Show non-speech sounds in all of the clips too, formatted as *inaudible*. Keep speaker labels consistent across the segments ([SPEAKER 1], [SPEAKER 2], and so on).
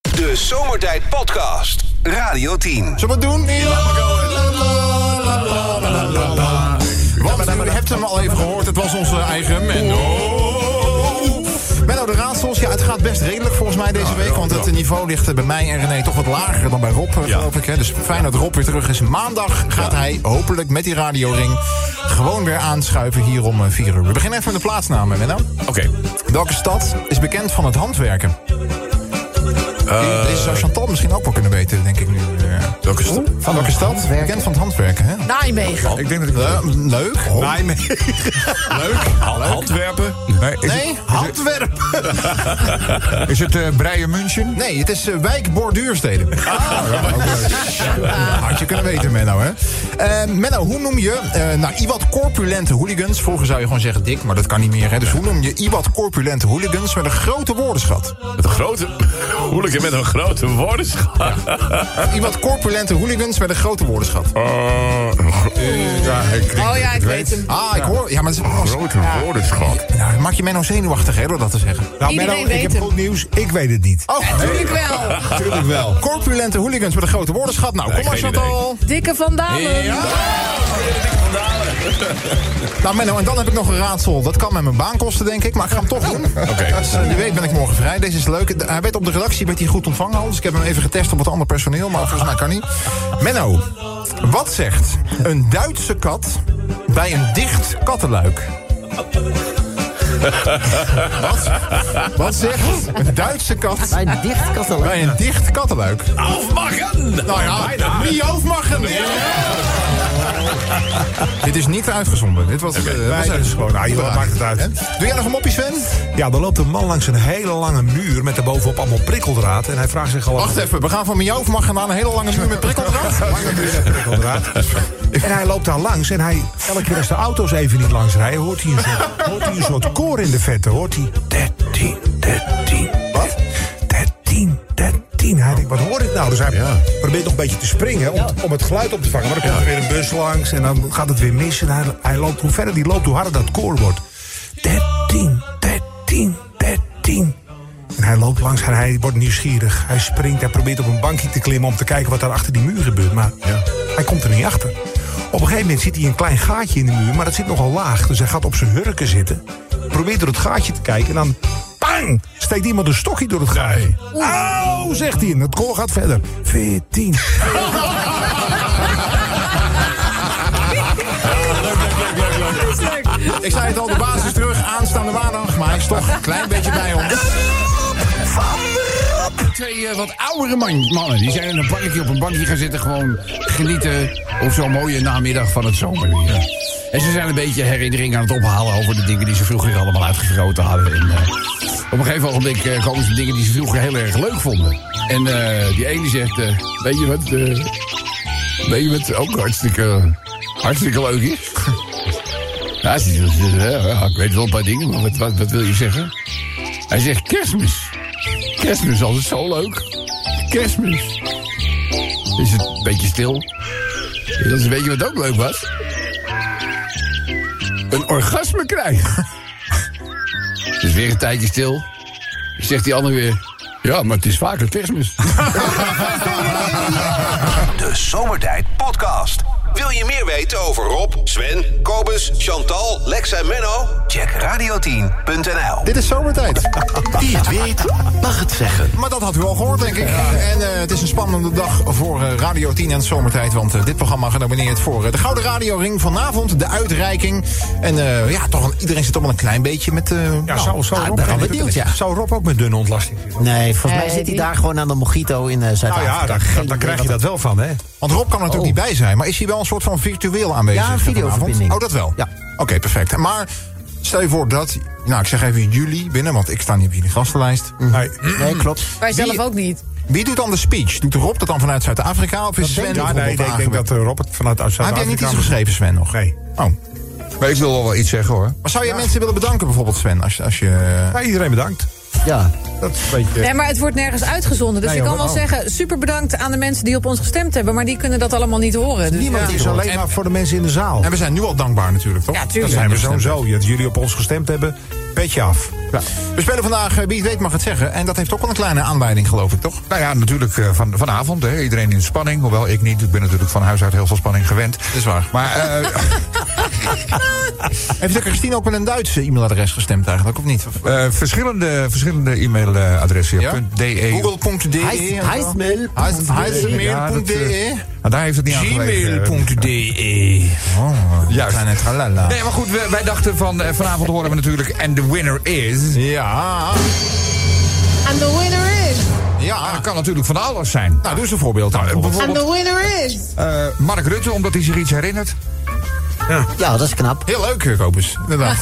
[SPEAKER 1] De Zomertijd Podcast. Radio 10.
[SPEAKER 2] Zullen we het doen? Want u hebt hem al even gehoord, het was onze eigen Menno. Menno de Raadsels, ja, het gaat best redelijk volgens mij deze week. Want het niveau ligt eh, bij mij en René toch wat lager dan bij Rob, eh,
[SPEAKER 3] Ja.
[SPEAKER 2] geloof ik. Hè. Dus fijn dat Rob weer terug is. Maandag gaat hij hopelijk met die radioring gewoon weer aanschuiven hier om eh, 4 uur. We beginnen even met de plaatsnamen, Menno.
[SPEAKER 3] Oké.
[SPEAKER 2] Welke stad is bekend van het handwerken?
[SPEAKER 3] Eh,
[SPEAKER 2] Deze zou Chantal misschien ook wel kunnen weten, denk ik nu. eh.
[SPEAKER 3] Welke stad?
[SPEAKER 2] Van welke stad? Bekend van het handwerken, hè?
[SPEAKER 4] Nijmegen.
[SPEAKER 3] Ik denk dat ik... Oh.
[SPEAKER 2] Eh, leuk.
[SPEAKER 3] Nijmegen. Leuk. Handwerpen.
[SPEAKER 5] Nee, is,
[SPEAKER 2] Nee, Antwerpen.
[SPEAKER 5] Het, is het eh Breien München?
[SPEAKER 2] Nee, het is eh, wijk Borduursteden. Ah, Had je kunnen weten, Menno, hè? Eh, Menno, hoe noem je... eh nou, iwat corpulente hooligans... Vroeger zou je gewoon zeggen dik, maar dat kan niet meer, hè? Dus hoe noem je iwat corpulente hooligans met een grote woordenschat?
[SPEAKER 3] Met een grote... Hooligan met een grote woordenschat.
[SPEAKER 2] Iwat corpulente hooligans met een grote woordenschat.
[SPEAKER 5] Oh.
[SPEAKER 3] Eh, ja, ik
[SPEAKER 4] Oh ja, ik weet hem.
[SPEAKER 2] Ah, ik hoor... Ja, maar het
[SPEAKER 5] Oh,
[SPEAKER 2] is...
[SPEAKER 3] Grote woordenschat.
[SPEAKER 2] Nou, maak je Menno zenuwachtig, hè, door dat te zeggen.
[SPEAKER 5] Nou,
[SPEAKER 4] Iedereen
[SPEAKER 5] Menno, ik
[SPEAKER 4] weet
[SPEAKER 5] heb
[SPEAKER 4] hem.
[SPEAKER 5] goed nieuws. Ik weet het niet.
[SPEAKER 2] Oh,
[SPEAKER 4] Natuurlijk wel.
[SPEAKER 5] Natuurlijk wel.
[SPEAKER 2] corpulente hooligans met een grote woordenschat. Nou,
[SPEAKER 3] Nee,
[SPEAKER 2] kom maar,
[SPEAKER 3] geen
[SPEAKER 2] Chantal.
[SPEAKER 4] Dikke Van Dalen.
[SPEAKER 2] *laughs* Nou, Menno, en dan heb ik nog een raadsel. Dat kan mij mijn baan kosten, denk ik, maar ik ga hem toch doen.
[SPEAKER 3] Oké.
[SPEAKER 2] Dus, eh, Wie weet ben ik morgen vrij. Deze is leuk. De- Hij werd op de redactie werd hij goed ontvangen al. Dus ik heb hem even getest op wat ander personeel, maar volgens mij kan niet. Menno, wat zegt een Duitse kat bij een dicht kattenluik? wat? wat zegt een Duitse kat
[SPEAKER 6] Bij een dicht kattenluik.
[SPEAKER 2] bij een dicht kattenluik?
[SPEAKER 3] Afmakken!
[SPEAKER 2] Nou ja, wie mag hem? *laughs* Dit is niet uitgezonden. Dit was, eh, was
[SPEAKER 5] dit is gewoon- nou, joh,
[SPEAKER 2] Wat
[SPEAKER 5] maakt het uit.
[SPEAKER 2] Hè? Doe jij nog een mopje, Sven?
[SPEAKER 5] Ja, dan loopt een man langs een hele lange muur met daarbovenop allemaal prikkeldraad. En hij vraagt zich al af-
[SPEAKER 2] Wacht even, we gaan van jou mag naar een hele lange muur met
[SPEAKER 5] *laughs*
[SPEAKER 2] prikkeldraad.
[SPEAKER 5] Lange muur met prikkeldraad. En hij loopt daar langs en hij, elke keer als de auto's even niet langs rijden, hoort hij een soort, hoort hij een soort koor in de vette. Hoort hij 13, 13. Wat? 13, 13. Hij denkt, wat hoor ik nou? Dus hij probeert nog een beetje te springen om, om het geluid op te vangen. Maar dan komt er weer een bus langs en dan gaat het weer mis. En hij, hij loopt, hoe verder die loopt, hoe harder dat koor wordt. 13, 13, 13. En hij loopt langs en hij wordt nieuwsgierig. Hij springt, hij probeert op een bankje te klimmen om te kijken wat daar achter die muur gebeurt. Maar hij komt er niet achter. Op een gegeven moment ziet hij een klein gaatje in de muur, maar dat zit nogal laag. Dus hij gaat op zijn hurken zitten, probeert door het gaatje te kijken en dan... Bang! Steekt iemand een stokje door het gaatje. Auw, zegt hij en het koor gaat verder. 14.
[SPEAKER 2] *laughs* Ik zei het al, de basis terug, aanstaande maandag. Maar hij is toch een klein beetje bij ons.
[SPEAKER 7] Twee eh, wat oudere man- mannen, die zijn in een parkje op een bankje gaan zitten... gewoon genieten op zo'n mooie namiddag van het zomerweer. En ze zijn een beetje herinnering aan het ophalen... over de dingen die ze vroeger allemaal uitgevroten hadden. En, eh, op een gegeven ogenblik eh, komen ze dingen die ze vroeger heel erg leuk vonden. En eh, die ene zegt, eh, weet je wat... eh, weet je wat ook hartstikke, hartstikke leuk is? *laughs* ja, ze zegt, eh, ja, ik weet wel een paar dingen, maar wat, wat, wat wil je zeggen? Hij zegt kerstmis. Kerstmis is altijd zo leuk. Kerstmis. Is het een beetje stil? Dat is een beetje wat ook leuk was. Een orgasme krijgen. Dus weer een tijdje stil. Zegt die ander weer. Ja, maar het is vaker *laughs* kerstmis.
[SPEAKER 1] De Zomertijd Podcast. Wil je meer weten over Rob, Sven, Kobus, Chantal, Lex en Menno? Check radio10.nl.
[SPEAKER 2] Dit is zomertijd.
[SPEAKER 8] *laughs* Wie het weet, mag het zeggen.
[SPEAKER 2] Maar dat had u al gehoord, denk ik. En eh, het is een spannende dag voor eh, Radio 10 en zomertijd. Want eh, dit programma genomineerd voor eh, de Gouden Radioring. Vanavond de uitreiking. En eh, ja, toch, een- iedereen zit toch wel een klein beetje met... eh
[SPEAKER 5] Ja, zou, zou,
[SPEAKER 2] ah,
[SPEAKER 5] Rob,
[SPEAKER 2] daar gaan we deelt, ja.
[SPEAKER 5] zou Rob ook met dunne ontlasting zitten?
[SPEAKER 6] Nee, volgens mij
[SPEAKER 4] Nee,
[SPEAKER 6] zit hij
[SPEAKER 4] die-
[SPEAKER 6] daar gewoon aan de mojito in eh
[SPEAKER 5] Nou
[SPEAKER 6] Zuid-Afrika.
[SPEAKER 5] ja, daar,
[SPEAKER 6] Geen
[SPEAKER 5] daar
[SPEAKER 6] idee
[SPEAKER 5] krijg je
[SPEAKER 6] wat
[SPEAKER 5] dat wel van, hè?
[SPEAKER 2] Want Rob kan er natuurlijk
[SPEAKER 8] Oh.
[SPEAKER 2] niet bij zijn, maar is hij wel een soort van virtueel aanwezig?
[SPEAKER 6] Ja, een
[SPEAKER 2] vanavond?
[SPEAKER 6] videoverbinding.
[SPEAKER 2] Oh, dat wel?
[SPEAKER 6] Ja.
[SPEAKER 2] Oké, perfect. Maar stel je voor dat, nou ik zeg even jullie binnen, want ik sta niet op jullie gastenlijst.
[SPEAKER 5] Nee.
[SPEAKER 6] dat- Nee, klopt.
[SPEAKER 4] Wij zelf
[SPEAKER 2] Wie-
[SPEAKER 4] ook niet.
[SPEAKER 2] Wie doet dan de speech? Doet Rob dat dan vanuit Zuid-Afrika of is Sven
[SPEAKER 5] Ja, nee, ik
[SPEAKER 2] bijvoorbeeld
[SPEAKER 5] denk, dat
[SPEAKER 2] aangewezen?
[SPEAKER 5] eh, Rob het vanuit
[SPEAKER 2] Ah, Heb
[SPEAKER 5] Zuid-Afrika...
[SPEAKER 2] jij niet iets geschreven, Sven, nog?
[SPEAKER 5] Nee.
[SPEAKER 2] Oh.
[SPEAKER 9] Maar ik wil wel wel iets zeggen hoor.
[SPEAKER 2] Maar zou je mensen willen bedanken bijvoorbeeld, Sven, als, je- als je...
[SPEAKER 5] Ja, iedereen bedankt.
[SPEAKER 6] Ja.
[SPEAKER 5] Dat is een beetje...
[SPEAKER 4] Nee, maar het wordt nergens uitgezonden. Dus
[SPEAKER 5] Nee,
[SPEAKER 4] ik kan
[SPEAKER 5] joh,
[SPEAKER 4] wel
[SPEAKER 5] oh.
[SPEAKER 4] zeggen, super bedankt aan de mensen die op ons gestemd hebben. Maar die kunnen dat allemaal niet horen. Dus
[SPEAKER 5] Niemand
[SPEAKER 4] ja.
[SPEAKER 5] is alleen maar voor de mensen in de zaal.
[SPEAKER 2] En we zijn nu al dankbaar natuurlijk, toch?
[SPEAKER 4] Ja, tuurlijk.
[SPEAKER 2] Dat
[SPEAKER 5] zijn we
[SPEAKER 2] zo
[SPEAKER 5] sowieso. Dat jullie op ons gestemd hebben.
[SPEAKER 2] Petje af.
[SPEAKER 5] Ja. We spelen vandaag eh, Wie het weet mag het zeggen. En dat heeft ook wel een kleine aanleiding, geloof ik, *laughs* toch?
[SPEAKER 7] Nou ja, natuurlijk eh, van, vanavond. Hè, iedereen in spanning. Hoewel ik niet. Ik ben natuurlijk van huis uit heel veel spanning gewend.
[SPEAKER 5] Dat is waar.
[SPEAKER 7] Maar eh, *laughs*
[SPEAKER 5] Heeft de Christine ook met een Duitse e-mailadres gestemd eigenlijk, of niet? Of-
[SPEAKER 7] eh, verschillende, verschillende e-mailadressen.
[SPEAKER 5] Ja?
[SPEAKER 7] .de.
[SPEAKER 5] E.
[SPEAKER 2] E
[SPEAKER 5] Google.de.
[SPEAKER 6] Heis-
[SPEAKER 5] en zo.
[SPEAKER 6] heismail.
[SPEAKER 5] Heis-
[SPEAKER 7] E. Ja, dat, eh,
[SPEAKER 5] Heismail.de.
[SPEAKER 7] nou, daar heeft het niet aan gelegen.
[SPEAKER 5] Gmail.de.
[SPEAKER 2] Oh,
[SPEAKER 7] Juist.
[SPEAKER 5] Kleine tralala.
[SPEAKER 7] E. Nee, maar goed, we- wij dachten van eh, vanavond horen we natuurlijk. And the winner is.
[SPEAKER 5] Ja.
[SPEAKER 10] And the winner is.
[SPEAKER 7] Maar
[SPEAKER 5] Ja.
[SPEAKER 7] dat kan natuurlijk van alles zijn. dus
[SPEAKER 5] Nou, doe eens een voorbeeld. dan, bijvoorbeeld.
[SPEAKER 10] And the winner is.
[SPEAKER 7] Eh, Mark Rutte, omdat hij zich iets herinnert.
[SPEAKER 6] Ja, dat is knap.
[SPEAKER 5] Heel leuk, eh, Kobus. Inderdaad.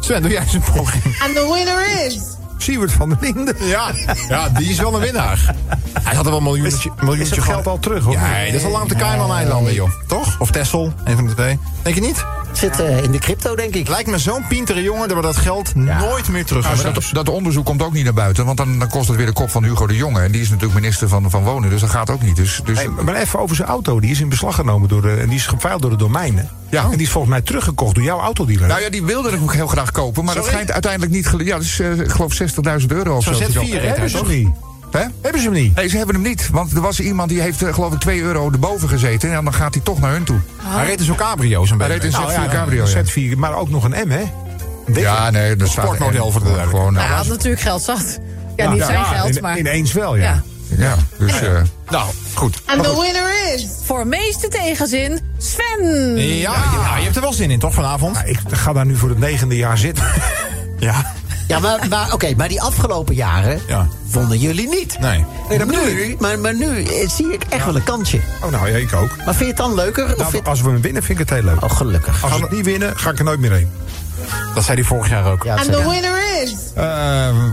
[SPEAKER 5] Sven, doe jij eens een poging.
[SPEAKER 10] And the winner is.
[SPEAKER 2] Siewert van der Linden.
[SPEAKER 5] Ja. ja, die is wel een winnaar. Hij had er wel een miljoentje,
[SPEAKER 2] Is
[SPEAKER 5] miljoentje
[SPEAKER 2] het geld
[SPEAKER 5] gehad.
[SPEAKER 2] al terug, hoor?
[SPEAKER 5] Ja, dat is al lang op de Cayman-eilanden, joh. Toch? Of Texel, een van de twee. Denk je niet?
[SPEAKER 6] Zit eh, in de crypto, denk ik.
[SPEAKER 5] Lijkt me zo'n pintere jongen dat we dat geld nooit meer terug
[SPEAKER 7] Nou,
[SPEAKER 5] gaan
[SPEAKER 7] maar dat, dat onderzoek komt ook niet naar buiten, want dan, dan kost het weer de kop van Hugo de Jonge. En die is natuurlijk minister van, van Wonen, dus dat gaat ook niet. Dus, dus
[SPEAKER 2] Hey, maar even over zijn auto. Die is in beslag genomen door de, en die is geveild door de domeinen.
[SPEAKER 7] Ja.
[SPEAKER 5] Oh.
[SPEAKER 2] En die is volgens mij teruggekocht door jouw autodealer.
[SPEAKER 7] Nou ja, die wilde hem ook heel graag kopen, maar dat
[SPEAKER 5] Sorry?
[SPEAKER 7] schijnt uiteindelijk niet... gelu- Ja, dat is eh, ik geloof 60.000 euro of zo.
[SPEAKER 5] Zo'n Z4
[SPEAKER 7] Die dan-
[SPEAKER 5] heet hij
[SPEAKER 2] hebben ze
[SPEAKER 5] dus toch?
[SPEAKER 2] hem niet.
[SPEAKER 7] Hè?
[SPEAKER 2] Hebben ze hem niet.
[SPEAKER 7] Nee, ze hebben hem niet, want er was iemand die heeft eh, geloof ik 2 euro erboven gezeten... en dan gaat hij toch naar hun toe.
[SPEAKER 5] Hij reed dus in zo'n cabrio, zo'n
[SPEAKER 7] Hij
[SPEAKER 5] beetje.
[SPEAKER 7] reed in
[SPEAKER 5] Nou,
[SPEAKER 7] zijn
[SPEAKER 2] Nou ja,
[SPEAKER 7] cabrio, ja.
[SPEAKER 2] Oh. een Z4, maar ook nog een M, hè?
[SPEAKER 7] Ja, nee, dat staat...
[SPEAKER 5] sportmodel voor de duidelijkheid.
[SPEAKER 7] Gewoon,
[SPEAKER 4] Hij
[SPEAKER 7] nou,
[SPEAKER 4] had natuurlijk geld zat. Ja, niet
[SPEAKER 2] Ja,
[SPEAKER 4] zijn
[SPEAKER 2] ja,
[SPEAKER 4] geld,
[SPEAKER 2] in-
[SPEAKER 4] maar
[SPEAKER 2] Ineens wel, ja.
[SPEAKER 4] Ja.
[SPEAKER 7] ja, dus... eh,
[SPEAKER 5] Nou, goed.
[SPEAKER 10] And the winner is.
[SPEAKER 4] voor meeste tegenzin Sven.
[SPEAKER 2] Nou,
[SPEAKER 5] Eh, Ja, ja, je hebt er wel zin in, toch, vanavond?
[SPEAKER 2] Maar ik ga daar nu voor het negende jaar zitten.
[SPEAKER 5] *laughs* Ja.
[SPEAKER 6] Ja, maar, maar, oké, maar die afgelopen jaren
[SPEAKER 5] Ja.
[SPEAKER 6] vonden jullie niet.
[SPEAKER 5] Nee.
[SPEAKER 2] Nee, dat bedoel
[SPEAKER 6] Nu, maar, maar nu eh, zie ik echt wel een kansje.
[SPEAKER 2] Oh, nou ja, ik ook.
[SPEAKER 6] Maar vind je het dan leuker? of
[SPEAKER 2] Nou,
[SPEAKER 6] vind...
[SPEAKER 2] als we hem winnen, vind ik het heel leuk.
[SPEAKER 6] Oh, gelukkig.
[SPEAKER 2] Als we het niet winnen, ga ik er nooit meer heen.
[SPEAKER 5] Dat zei hij vorig jaar ook.
[SPEAKER 6] Ja,
[SPEAKER 10] And
[SPEAKER 6] zeg-
[SPEAKER 10] the winner is.
[SPEAKER 7] eh,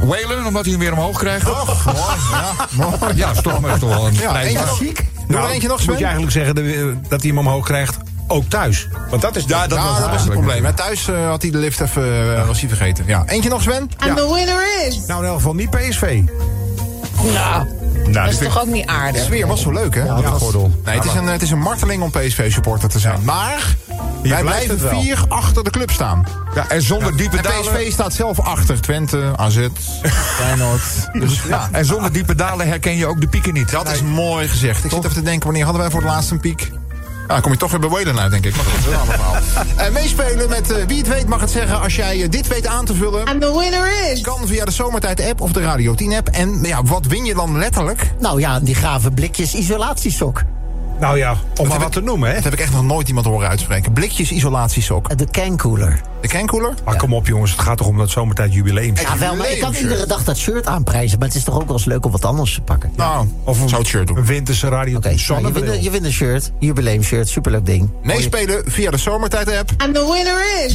[SPEAKER 7] Whalen, omdat hij hem weer omhoog krijgt.
[SPEAKER 5] Oh, mooi. Ja, mooi.
[SPEAKER 7] Ja, is toch, maar is toch wel een
[SPEAKER 5] Ja,
[SPEAKER 7] prijs
[SPEAKER 5] eentje
[SPEAKER 7] waard.
[SPEAKER 5] nog.
[SPEAKER 6] Ziek.
[SPEAKER 5] Doe er eentje nog,
[SPEAKER 2] Nou, Moet je
[SPEAKER 5] Sven.
[SPEAKER 2] eigenlijk zeggen dat, we- dat hij hem omhoog krijgt, ook thuis. Want dat is
[SPEAKER 5] Ja, dat was, dat was het
[SPEAKER 7] eigenlijk
[SPEAKER 5] probleem. hè. Thuis eh, had hij de lift even eh, was hij vergeten. Ja. Eentje nog, Sven?
[SPEAKER 10] And the winner is.
[SPEAKER 2] Nou, in elk geval niet PSV.
[SPEAKER 4] dat is toch ook niet
[SPEAKER 5] De
[SPEAKER 4] aardig.
[SPEAKER 5] sfeer was zo leuk, hè? Ja,
[SPEAKER 2] de gordel.
[SPEAKER 5] Nee, het is, een, het is een marteling om PSV-supporter te zijn. Maar wij
[SPEAKER 2] blijft het
[SPEAKER 5] blijven
[SPEAKER 2] wel.
[SPEAKER 5] vier achter de club staan.
[SPEAKER 7] Ja, en zonder diepe
[SPEAKER 5] En
[SPEAKER 7] dalen...
[SPEAKER 5] PSV staat zelf achter. Twente, AZ, Feyenoord. Dus ja,
[SPEAKER 7] En zonder diepe dalen herken je ook de pieken niet.
[SPEAKER 5] dat is mooi gezegd. Ik zit even te denken, wanneer hadden wij voor het laatst een piek? Nou, dan kom je toch weer bij Whalen uit, denk ik. Maar goed, dat is een ander verhaal. Eh, meespelen met eh, Wie het weet mag het zeggen. Als jij eh, dit weet aan te vullen...
[SPEAKER 10] And the winner is.
[SPEAKER 5] kan via de Zomertijd-app of de Radio 10-app. En ja, wat win je dan letterlijk?
[SPEAKER 6] Nou ja, die gave blikjes isolatiesok.
[SPEAKER 2] Nou ja, om maar
[SPEAKER 5] heb
[SPEAKER 2] wat te
[SPEAKER 5] ik-
[SPEAKER 2] noemen, hè.
[SPEAKER 5] Dat heb ik echt nog nooit iemand horen uitspreken. Blikjes isolatiesok.
[SPEAKER 6] Eh, De cankoeler.
[SPEAKER 5] De kenkoeler?
[SPEAKER 2] Maar kom op, jongens, het gaat toch om dat zomertijd jubileum.
[SPEAKER 6] Ja, wel, maar ik kan
[SPEAKER 5] jubileumshirt.
[SPEAKER 6] iedere dag dat shirt aanprijzen. Maar het is toch ook wel eens leuk om wat anders te pakken.
[SPEAKER 5] Nou,
[SPEAKER 2] Of een,
[SPEAKER 5] zou het shirt doen.
[SPEAKER 2] een winterse radio.
[SPEAKER 6] Oké, nou, je,
[SPEAKER 2] zonnebril.
[SPEAKER 6] wint, je Oh, wint een shirt. Jubileumshirt, superleuk ding.
[SPEAKER 5] Meespelen via de Zomertijd-app.
[SPEAKER 10] And the winner is.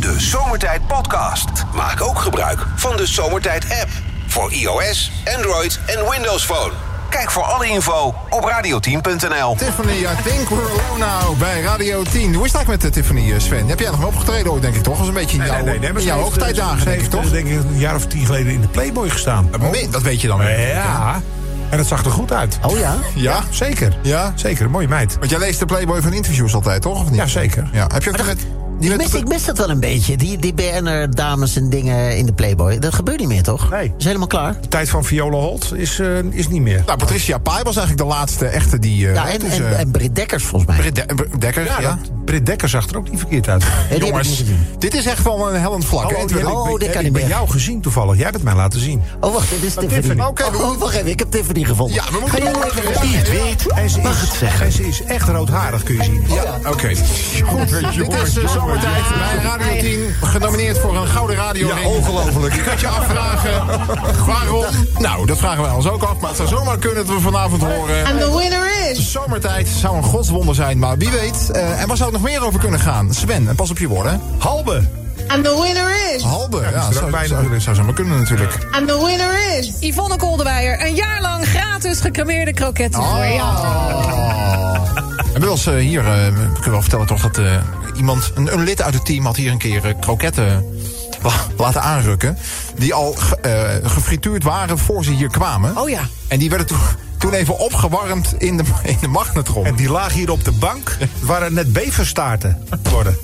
[SPEAKER 1] De Zomertijd Podcast. Maak ook gebruik van de Zomertijd app. Voor iOS, Android en Windows Phone. Kijk voor alle info op radio10.nl.
[SPEAKER 5] Tiffany, I think we're alone now bij Radio 10. Hoe is het eigenlijk met eh, Tiffany, eh, Sven? Heb jij nog wel opgetreden ooit, denk ik toch? Als een beetje in
[SPEAKER 2] Nee,
[SPEAKER 5] jouw,
[SPEAKER 2] nee, nee, nee, maar
[SPEAKER 5] in
[SPEAKER 2] ze
[SPEAKER 5] jouw
[SPEAKER 2] heeft,
[SPEAKER 5] hoogtijdagen,
[SPEAKER 2] ze
[SPEAKER 5] denk ik
[SPEAKER 2] heeft,
[SPEAKER 5] toch?
[SPEAKER 2] eh, denk ik een jaar of tien geleden in de Playboy gestaan.
[SPEAKER 5] Me- Dat weet je dan weer.
[SPEAKER 2] Ja, en dat zag er goed uit.
[SPEAKER 6] Oh ja?
[SPEAKER 5] Ja?
[SPEAKER 2] Zeker.
[SPEAKER 5] Ja?
[SPEAKER 2] Zeker, een mooie meid.
[SPEAKER 5] Want jij leest de Playboy van interviews altijd, toch? Of niet?
[SPEAKER 2] Ja, zeker.
[SPEAKER 5] Ja. Heb je ook die met... Die
[SPEAKER 6] Ik
[SPEAKER 5] met
[SPEAKER 6] mis, ik mis dat wel een beetje. Die, die BN'er-dames en dingen in de Playboy. Dat gebeurt niet meer, toch?
[SPEAKER 2] Nee.
[SPEAKER 6] Is helemaal klaar.
[SPEAKER 2] De tijd van Viola Holt is, eh, is niet meer.
[SPEAKER 5] nou, Patricia Pai was eigenlijk de laatste echte die... eh,
[SPEAKER 6] Ja, en,
[SPEAKER 5] dus,
[SPEAKER 6] en,
[SPEAKER 5] eh,
[SPEAKER 6] en Britt Dekkers volgens mij.
[SPEAKER 5] Britt De- Britt Dekker, ja.
[SPEAKER 2] dat- Britt Dekker zag er ook niet verkeerd uit.
[SPEAKER 6] Hè, die heb ik
[SPEAKER 5] Jongens,
[SPEAKER 6] niet gezien.
[SPEAKER 5] dit is echt wel een hellend vlak. hè?
[SPEAKER 2] oh,
[SPEAKER 5] Het wil-
[SPEAKER 2] heb
[SPEAKER 6] oh,
[SPEAKER 2] ik
[SPEAKER 6] dit
[SPEAKER 2] bij-
[SPEAKER 6] kan
[SPEAKER 2] heb
[SPEAKER 6] niet
[SPEAKER 2] ik bij
[SPEAKER 6] meer.
[SPEAKER 2] jou gezien toevallig. Jij hebt het mij laten zien.
[SPEAKER 6] Oh, wacht, dit is Tiffany.
[SPEAKER 5] Oké, we
[SPEAKER 6] oh, wacht even, ik heb Tiffany gevonden.
[SPEAKER 5] Ja, we moeten
[SPEAKER 6] Ga jij
[SPEAKER 5] nog
[SPEAKER 6] even-
[SPEAKER 5] even-
[SPEAKER 6] Ja.
[SPEAKER 8] Wie het weet,
[SPEAKER 2] En ze
[SPEAKER 8] mag
[SPEAKER 2] is,
[SPEAKER 8] het zeggen.
[SPEAKER 2] en ze is echt roodharig, kun je zien.
[SPEAKER 5] Oké. Dit is eh, zomertijd bij Radio 10. Genomineerd voor een gouden radio. Ja, ongelooflijk. Je kunt je afvragen waarom. Nou, dat vragen wij ons ook af. Maar het zou zomaar kunnen dat we vanavond horen.
[SPEAKER 10] And the winner is.
[SPEAKER 5] Zomertijd zou een godswonder zijn, maar wie weet. Eh, en waar zou het nog meer over kunnen gaan? Sven, en pas op je woorden.
[SPEAKER 2] Halbe.
[SPEAKER 10] And the winner is.
[SPEAKER 5] Halbe. Ja,
[SPEAKER 2] ook
[SPEAKER 5] zou,
[SPEAKER 2] bijna.
[SPEAKER 5] zou, zou zomaar kunnen natuurlijk.
[SPEAKER 10] And the winner is.
[SPEAKER 4] Yvonne Koldewijer, een jaar lang gratis gecremeerde kroketten
[SPEAKER 2] Oh.
[SPEAKER 4] voor jou.
[SPEAKER 5] En Oh. *laughs* Inmiddels eh, hier, eh, we kunnen wel vertellen toch dat eh, iemand, een, een lid uit het team had hier een keer eh, kroketten la- laten aanrukken. Die al ge- eh, gefrituurd waren voor ze hier kwamen.
[SPEAKER 4] Oh ja.
[SPEAKER 5] En die werden toen, toen even opgewarmd in de, in de magnetron.
[SPEAKER 2] En die lagen hier op de bank. Het waren net beverstaarten geworden.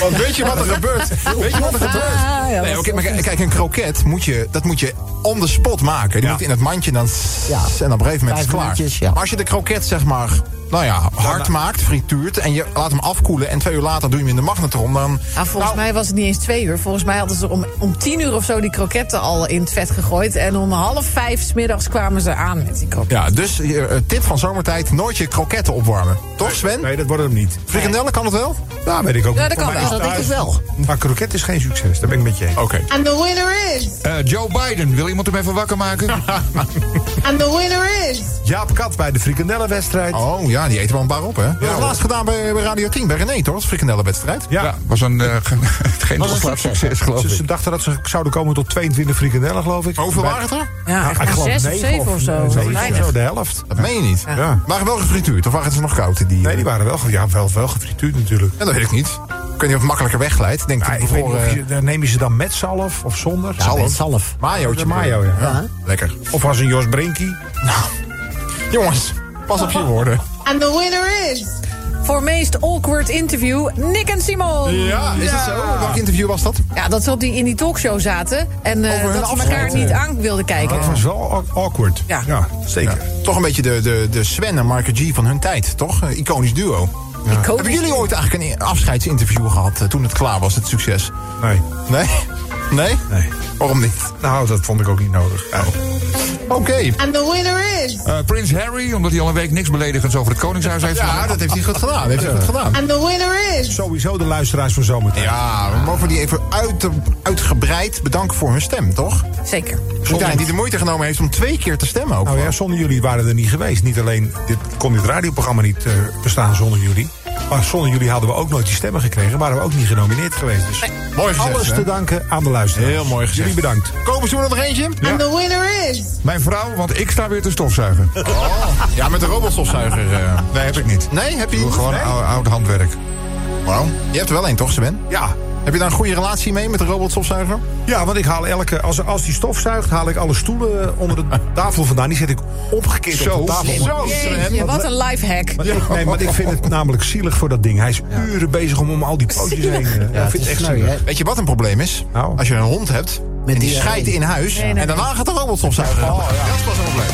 [SPEAKER 5] Want weet je wat er gebeurt? Weet je wat er gebeurt?
[SPEAKER 4] ja,
[SPEAKER 5] Nee,
[SPEAKER 4] dat
[SPEAKER 5] oké,
[SPEAKER 4] is
[SPEAKER 5] maar
[SPEAKER 4] wel
[SPEAKER 5] kijk, kijk, een kroket moet je, dat moet je on the spot maken. Die moet in het mandje dan s-
[SPEAKER 6] Ja.
[SPEAKER 5] en op een gegeven moment is
[SPEAKER 6] Vijf
[SPEAKER 5] het klaar.
[SPEAKER 6] minuutjes, ja.
[SPEAKER 5] Maar als je de kroket zeg maar, nou ja, hard maakt, frituurt en je laat hem afkoelen en twee uur later doe je hem in de magnetron, dan Nou,
[SPEAKER 4] Ah, volgens
[SPEAKER 2] Nou.
[SPEAKER 4] mij was het niet eens twee uur. Volgens mij hadden ze er om, om tien uur of zo die kroketten al in het vet gegooid. En om half vijf 's middags kwamen ze aan met die kroketten.
[SPEAKER 5] ja, dus eh, tip van zomertijd: nooit je kroketten opwarmen. Toch, Sven?
[SPEAKER 2] Nee, dat wordt hem niet.
[SPEAKER 5] Frikandellen kan het wel? Nou,
[SPEAKER 2] Daar weet ik ook niet.
[SPEAKER 4] Ja, dat
[SPEAKER 2] Voor mij
[SPEAKER 4] kan wel.
[SPEAKER 2] is
[SPEAKER 4] Dat
[SPEAKER 2] thuis-
[SPEAKER 4] denk ik wel.
[SPEAKER 2] Maar kroket is geen succes, daar ben ik met je eens.
[SPEAKER 5] Oké.
[SPEAKER 10] And the winner is.
[SPEAKER 7] Eh, Joe Biden, wil iemand hem even wakker
[SPEAKER 5] *laughs*
[SPEAKER 7] maken?
[SPEAKER 10] And the winner is.
[SPEAKER 2] Jaap Kat bij de frikandellenwedstrijd.
[SPEAKER 5] Oh ja, die eten wel een paar op, hè? Dat was laatst gedaan bij, bij Radio 10, bij René, toch? Dat frikandellenwedstrijd.
[SPEAKER 2] Ja.
[SPEAKER 7] Was een eh, ge- *laughs* geen ongeslaagd succes, geloof
[SPEAKER 2] Ze,
[SPEAKER 7] ik.
[SPEAKER 2] ze dachten dat ze zouden komen tot 22 frikandellen, geloof ik.
[SPEAKER 5] Hoeveel
[SPEAKER 2] Bij-
[SPEAKER 5] waren het er?
[SPEAKER 4] Ja, echt
[SPEAKER 2] Ik
[SPEAKER 4] maar
[SPEAKER 2] geloof
[SPEAKER 4] zes of
[SPEAKER 2] negen
[SPEAKER 4] zeven of zo.
[SPEAKER 2] zoiets,
[SPEAKER 4] Weinig.
[SPEAKER 2] zo, de helft.
[SPEAKER 5] Dat meen je niet.
[SPEAKER 2] Ja.
[SPEAKER 5] Waren wel gefrituurd of waren ze nog koud? Die, eh?
[SPEAKER 2] Nee, die waren wel, ge- ja, wel, wel gefrituurd natuurlijk.
[SPEAKER 5] Ja, dat weet ik niet. Ik weet niet of het makkelijker wegglijdt. Ik Denk
[SPEAKER 2] Ja,
[SPEAKER 5] dat eh,
[SPEAKER 2] ik weet niet
[SPEAKER 5] bevroren,
[SPEAKER 2] of je, dan neem je ze dan met zalf of zonder.
[SPEAKER 5] eh,
[SPEAKER 6] met zalf.
[SPEAKER 5] Mayootje.
[SPEAKER 2] Met mayo, ja.
[SPEAKER 5] Lekker.
[SPEAKER 2] Of als een Jos Brinkie.
[SPEAKER 5] Nou, Jongens, pas op je woorden.
[SPEAKER 10] And the winner is.
[SPEAKER 4] Voor meest awkward interview, Nick en Simon.
[SPEAKER 5] Ja, is dat zo? Welk interview was dat?
[SPEAKER 4] Ja, dat ze op die, in die talkshow zaten. En eh,
[SPEAKER 5] Over hun
[SPEAKER 4] dat ze elkaar
[SPEAKER 5] afscheid,
[SPEAKER 4] niet
[SPEAKER 5] eh.
[SPEAKER 4] aan wilden kijken.
[SPEAKER 2] Dat was wel au- awkward.
[SPEAKER 4] Ja.
[SPEAKER 2] zeker.
[SPEAKER 5] Toch een beetje de, de, de Sven en Mark G van hun tijd, toch? Een iconisch duo.
[SPEAKER 4] Iconisch.
[SPEAKER 5] Hebben jullie ooit eigenlijk een afscheidsinterview gehad eh, toen het klaar was, het succes?
[SPEAKER 2] Nee.
[SPEAKER 5] Nee? *laughs* Nee?
[SPEAKER 2] Nee.
[SPEAKER 5] Waarom niet?
[SPEAKER 2] Nou, dat vond ik ook niet nodig.
[SPEAKER 5] Oké.
[SPEAKER 10] And the winner is.
[SPEAKER 7] Eh, Prins Harry, omdat hij al een week niks beledigends over het Koningshuis heeft
[SPEAKER 5] Ja,
[SPEAKER 7] gedaan.
[SPEAKER 5] dat heeft hij goed gedaan. Heeft hij goed gedaan.
[SPEAKER 10] And the winner is.
[SPEAKER 2] Sowieso de luisteraars van zometeen.
[SPEAKER 5] Ja, we mogen die even uit, uitgebreid bedanken voor hun stem, toch?
[SPEAKER 4] Zeker.
[SPEAKER 5] Martijn, die de moeite genomen heeft om twee keer te stemmen ook.
[SPEAKER 2] Nou ja, zonder jullie waren er niet geweest. Niet alleen dit, kon dit radioprogramma niet eh, bestaan zonder jullie. Maar zonder jullie hadden we ook nooit die stemmen gekregen. Waren we ook niet genomineerd geweest. Dus
[SPEAKER 5] Mooi gezegd,
[SPEAKER 2] alles
[SPEAKER 5] hè?
[SPEAKER 2] te danken aan de luisteraars.
[SPEAKER 5] Heel mooi gezegd.
[SPEAKER 2] Jullie bedankt.
[SPEAKER 5] Kopen ze er nog eentje?
[SPEAKER 10] And the winner is.
[SPEAKER 7] Mijn vrouw, want ik sta weer te stofzuigen.
[SPEAKER 5] Ja, met de robotstofzuiger. eh.
[SPEAKER 7] Nee, heb ik niet.
[SPEAKER 5] Nee, heb je
[SPEAKER 7] Doe
[SPEAKER 5] niet?
[SPEAKER 7] gewoon
[SPEAKER 5] Nee?
[SPEAKER 7] ou- oud handwerk.
[SPEAKER 5] Wauw. Je hebt er wel één, toch, Sven?
[SPEAKER 2] Ja.
[SPEAKER 5] Heb je daar een goede relatie mee met de robotstofzuiger?
[SPEAKER 2] Ja, want ik haal elke. Als, als die stof zuigt, haal ik alle stoelen eh, onder
[SPEAKER 5] *laughs*
[SPEAKER 2] de tafel vandaan. Die zet ik omgekeerd op de tafel.
[SPEAKER 5] zo,
[SPEAKER 4] Jeetje, wat een lifehack.
[SPEAKER 2] Maar ik- nee, maar ik vind het namelijk zielig voor dat ding. Hij is uren bezig om, om al die pootjes heen. eh, ik
[SPEAKER 6] het
[SPEAKER 2] vind het
[SPEAKER 6] is
[SPEAKER 2] echt
[SPEAKER 6] sneu,
[SPEAKER 2] zielig.
[SPEAKER 6] hè?
[SPEAKER 5] Weet je wat een probleem is?
[SPEAKER 2] Nou.
[SPEAKER 5] Als je een hond hebt en die
[SPEAKER 6] die, eh,
[SPEAKER 5] scheidt in huis...
[SPEAKER 4] nee.
[SPEAKER 5] en daarna gaat de robotstofzuiger. Oh, ja. Dat is pas een probleem.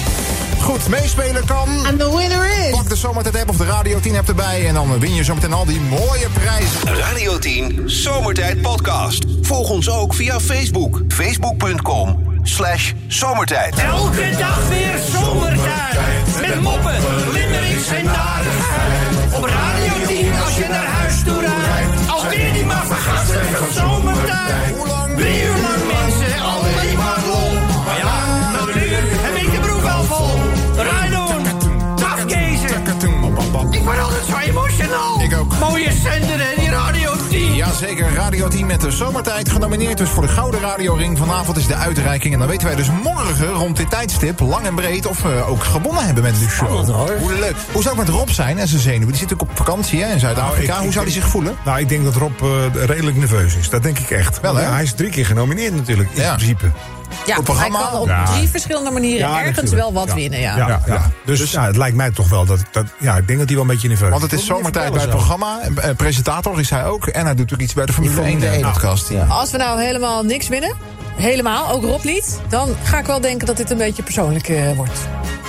[SPEAKER 5] Goed, meespelen kan...
[SPEAKER 10] And the winner is.
[SPEAKER 5] Pak de Zomertijd app of de Radio 10 app erbij... en dan win je zometeen al die mooie prijzen.
[SPEAKER 1] Radio 10 Zomertijd Podcast. Volg ons ook via Facebook. Facebook.com slash zomertijd.
[SPEAKER 11] Elke dag weer zomertijd. Met moppen, limmerings en narigheid. Op Radio 10 als je naar huis toe rijdt. Alweer die maar vergassen van zomertijd. Drie uur lang mensen, alleen maar lol. Maar ja, nou nu heb ik de broek al vol. Rijdon, afkezen. Ik word altijd zo emotional.
[SPEAKER 5] Ik ook.
[SPEAKER 11] Mooie zender en die Radio 10.
[SPEAKER 5] Jazeker, Radio 10 met de zomertijd. Genomineerd dus voor de Gouden Radioring. Vanavond is de uitreiking. En dan weten wij dus morgen rond dit tijdstip, lang en breed, of we ook gewonnen hebben met de show. Hoe leuk. Hoe zou het met Rob zijn en zijn zenuwen? Die zit ook op vakantie hè, in
[SPEAKER 2] Nou, ik-
[SPEAKER 5] Zuid-Afrika. Hoe
[SPEAKER 2] ik-
[SPEAKER 5] zou die zich voelen?
[SPEAKER 2] Nou, ik denk dat Rob eh, redelijk nerveus is. Dat denk ik echt.
[SPEAKER 5] Wel, hè?
[SPEAKER 2] Ja, hij is drie keer genomineerd natuurlijk, in
[SPEAKER 5] Ja.
[SPEAKER 2] principe.
[SPEAKER 4] Ja,
[SPEAKER 5] Op programma?
[SPEAKER 4] hij kan op
[SPEAKER 2] Ja.
[SPEAKER 4] drie verschillende manieren ergens wel wat
[SPEAKER 2] Ja.
[SPEAKER 4] winnen. Ja.
[SPEAKER 2] Ja, ja, Dus, ja, het lijkt mij toch wel dat, dat... Ja, ik denk dat hij wel een beetje nerveus is.
[SPEAKER 5] Want het is
[SPEAKER 2] Moet je
[SPEAKER 5] zomertijd bij het
[SPEAKER 2] vertellen
[SPEAKER 5] programma. En, eh, presentator is hij ook. En hij doet ook iets bij de Formule 1
[SPEAKER 6] Formule 1
[SPEAKER 5] podcast.
[SPEAKER 6] ja.
[SPEAKER 4] Als we nou helemaal niks winnen, helemaal, ook Rob niet... dan ga ik wel denken dat dit een beetje persoonlijk eh, wordt.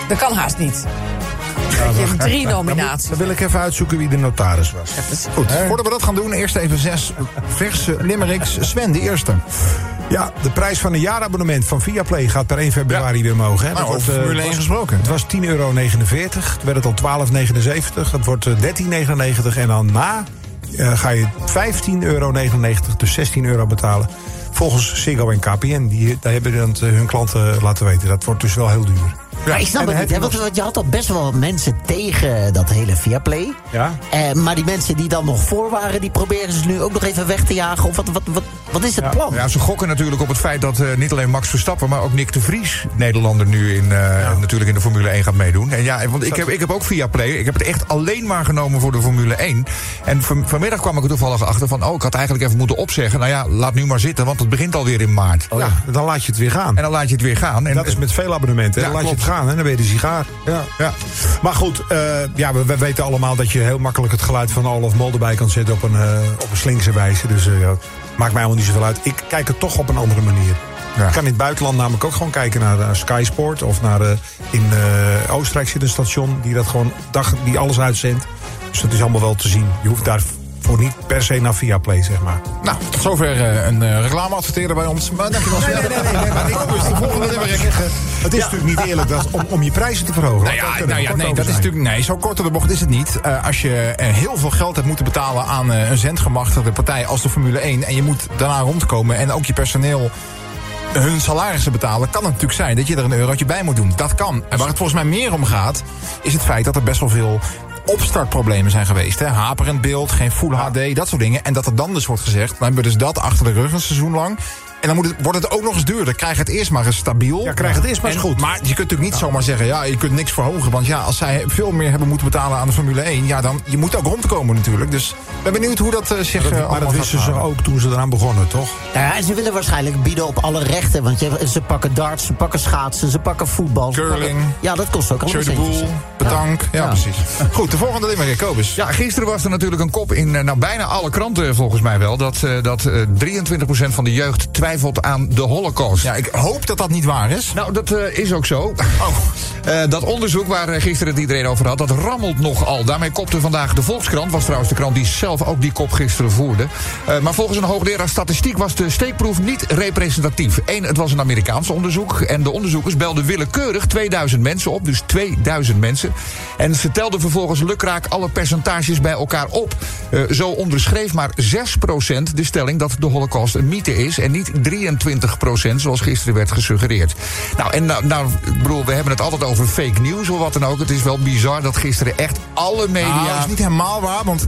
[SPEAKER 4] Dat kan haast niet. Dat je drie
[SPEAKER 2] zelf.
[SPEAKER 4] nominaties.
[SPEAKER 2] Dan wil ik even uitzoeken wie de notaris was.
[SPEAKER 5] Goed, voordat we dat gaan doen, eerst even zes verse limericks. Sven, de eerste.
[SPEAKER 2] Ja, de prijs van een jaarabonnement van Viaplay gaat per 1 februari weer mogen. Hè?
[SPEAKER 5] Nou,
[SPEAKER 2] Dat
[SPEAKER 5] over
[SPEAKER 2] wordt, eh,
[SPEAKER 5] Formule 1
[SPEAKER 2] was-
[SPEAKER 5] gesproken.
[SPEAKER 2] Het was 10,49 euro. Het werd het al 12,79. Het wordt eh, 13,99. En dan na eh, ga je 15,99 euro, dus 16 euro betalen. Volgens Ziggo en KPN. Die, daar hebben dan eh, hun klanten laten weten. Dat wordt dus wel heel duur.
[SPEAKER 6] Maar ik snap
[SPEAKER 2] En
[SPEAKER 6] het
[SPEAKER 2] heb
[SPEAKER 6] niet,
[SPEAKER 2] je
[SPEAKER 6] hè, want, want je had al best wel mensen tegen dat hele Viaplay.
[SPEAKER 2] Ja.
[SPEAKER 6] Eh, maar die mensen die dan nog voor waren, die proberen ze nu ook nog even weg te jagen. Of wat, wat, wat, wat is het plan?
[SPEAKER 7] Ja, ze gokken natuurlijk op het feit dat eh, niet alleen Max Verstappen... maar ook Nick de Vries, Nederlander, nu in, eh, natuurlijk in de Formule 1 gaat meedoen. En ja, want ik heb, ik heb ook via Play, ik heb het echt alleen maar genomen voor de Formule 1. En van- vanmiddag kwam ik er toevallig achter van... oh, ik had eigenlijk even moeten opzeggen. Nou ja, laat nu maar zitten, want het begint alweer in maart.
[SPEAKER 5] Oh
[SPEAKER 2] ja. Dan laat je het weer gaan.
[SPEAKER 7] En dan laat je het weer gaan. En,
[SPEAKER 2] dat is met veel abonnementen. hè? Dan
[SPEAKER 7] Ja,
[SPEAKER 2] laat
[SPEAKER 7] klopt.
[SPEAKER 2] je het gaan en dan ben je de sigaar. Ja. Ja. Maar goed, eh, ja, we, we weten allemaal dat je heel makkelijk het geluid van Olaf Mol erbij kan zetten op een, eh, op een slinkse wijze. Dus eh, ja, maakt mij helemaal niet zoveel uit. Ik kijk het toch op een andere manier. Ik kan in het buitenland namelijk ook gewoon kijken naar eh, Sky Sport. Of naar, eh, in eh, Oostenrijk zit een station die dat gewoon dag, die alles uitzendt. Dus dat is allemaal wel te zien. Je hoeft daarvoor niet per se naar Viaplay, zeg maar.
[SPEAKER 5] Nou, tot zover eh, een eh, reclameadverteerder bij ons. Maar dankjewel. Nee, nee, nee, nee, maar ik wil dus de volgende nummer zeggen.
[SPEAKER 2] Het is natuurlijk niet eerlijk dat, om, om je prijzen te verhogen.
[SPEAKER 5] Nou
[SPEAKER 2] want daar
[SPEAKER 5] ja,
[SPEAKER 2] kunnen
[SPEAKER 5] nou
[SPEAKER 2] we
[SPEAKER 5] ja
[SPEAKER 2] kort
[SPEAKER 5] nee,
[SPEAKER 2] over
[SPEAKER 5] dat is
[SPEAKER 2] zijn.
[SPEAKER 5] natuurlijk. Nee, zo kort door de bocht is het niet. Eh, als je eh, heel veel geld hebt moeten betalen aan eh, een zendgemachtigde partij als de Formule 1. en je moet daarna rondkomen en ook je personeel hun salarissen betalen. kan het natuurlijk zijn dat je er een eurotje bij moet doen. Dat kan. En waar het volgens mij meer om gaat. is het feit dat er best wel veel opstartproblemen zijn geweest. Hè? Haperend beeld, geen full HD, dat soort dingen. En dat er dan dus wordt gezegd. dan hebben we dus dat achter de rug een seizoen lang. En dan moet het, wordt het ook nog eens duurder. Krijg het eerst maar eens stabiel. Ja,
[SPEAKER 2] krijg het eerst maar eens goed.
[SPEAKER 5] Maar je kunt natuurlijk niet zomaar zeggen, ja, je kunt niks verhogen. Want ja, als zij veel meer hebben moeten betalen aan de Formule 1... ja, dan, je moet ook rondkomen natuurlijk. Dus ik ben benieuwd hoe dat eh, zich eh, allemaal
[SPEAKER 2] Maar dat
[SPEAKER 5] gaat
[SPEAKER 2] wisten ze
[SPEAKER 5] gaan.
[SPEAKER 2] ook toen ze eraan begonnen, toch?
[SPEAKER 6] Nou ja, en ze willen waarschijnlijk bieden op alle rechten. Want je, ze pakken darts, ze pakken schaatsen, ze pakken voetbal. ze
[SPEAKER 5] Curling.
[SPEAKER 6] pakken- ja, dat kost ook allemaal
[SPEAKER 5] Jeu de
[SPEAKER 6] centjes.
[SPEAKER 5] boel, betank. Ja, precies. Goed, de volgende limmer, Kobus.
[SPEAKER 7] Ja, gisteren was er natuurlijk een kop in eh, nou, bijna alle kranten volgens mij wel... dat, eh, dat eh, 23% van de jeugd twijfelt aan de holocaust.
[SPEAKER 5] Ja, ik hoop dat dat niet waar is.
[SPEAKER 7] Nou, dat eh, is ook zo. *laughs* Eh, dat onderzoek waar eh, gisteren het iedereen over had, dat rammelt nogal. Daarmee kopte vandaag de Volkskrant, was trouwens de krant die zelf ook die kop gisteren voerde. Eh, maar volgens een hoogleraar statistiek was de steekproef niet representatief. Eén, het was een Amerikaans onderzoek en de onderzoekers belden willekeurig 2000 mensen op, dus 2000 mensen. En ze telden vervolgens lukraak alle percentages bij elkaar op. Eh, zo onderschreef maar 6% de stelling dat de holocaust een mythe is... en niet 23% zoals gisteren werd gesuggereerd. Nou, en nou, nou, ik bedoel, we hebben het altijd over fake news of wat dan ook. Het is wel bizar dat gisteren echt alle media...
[SPEAKER 5] Nou, dat is niet helemaal waar, want 6%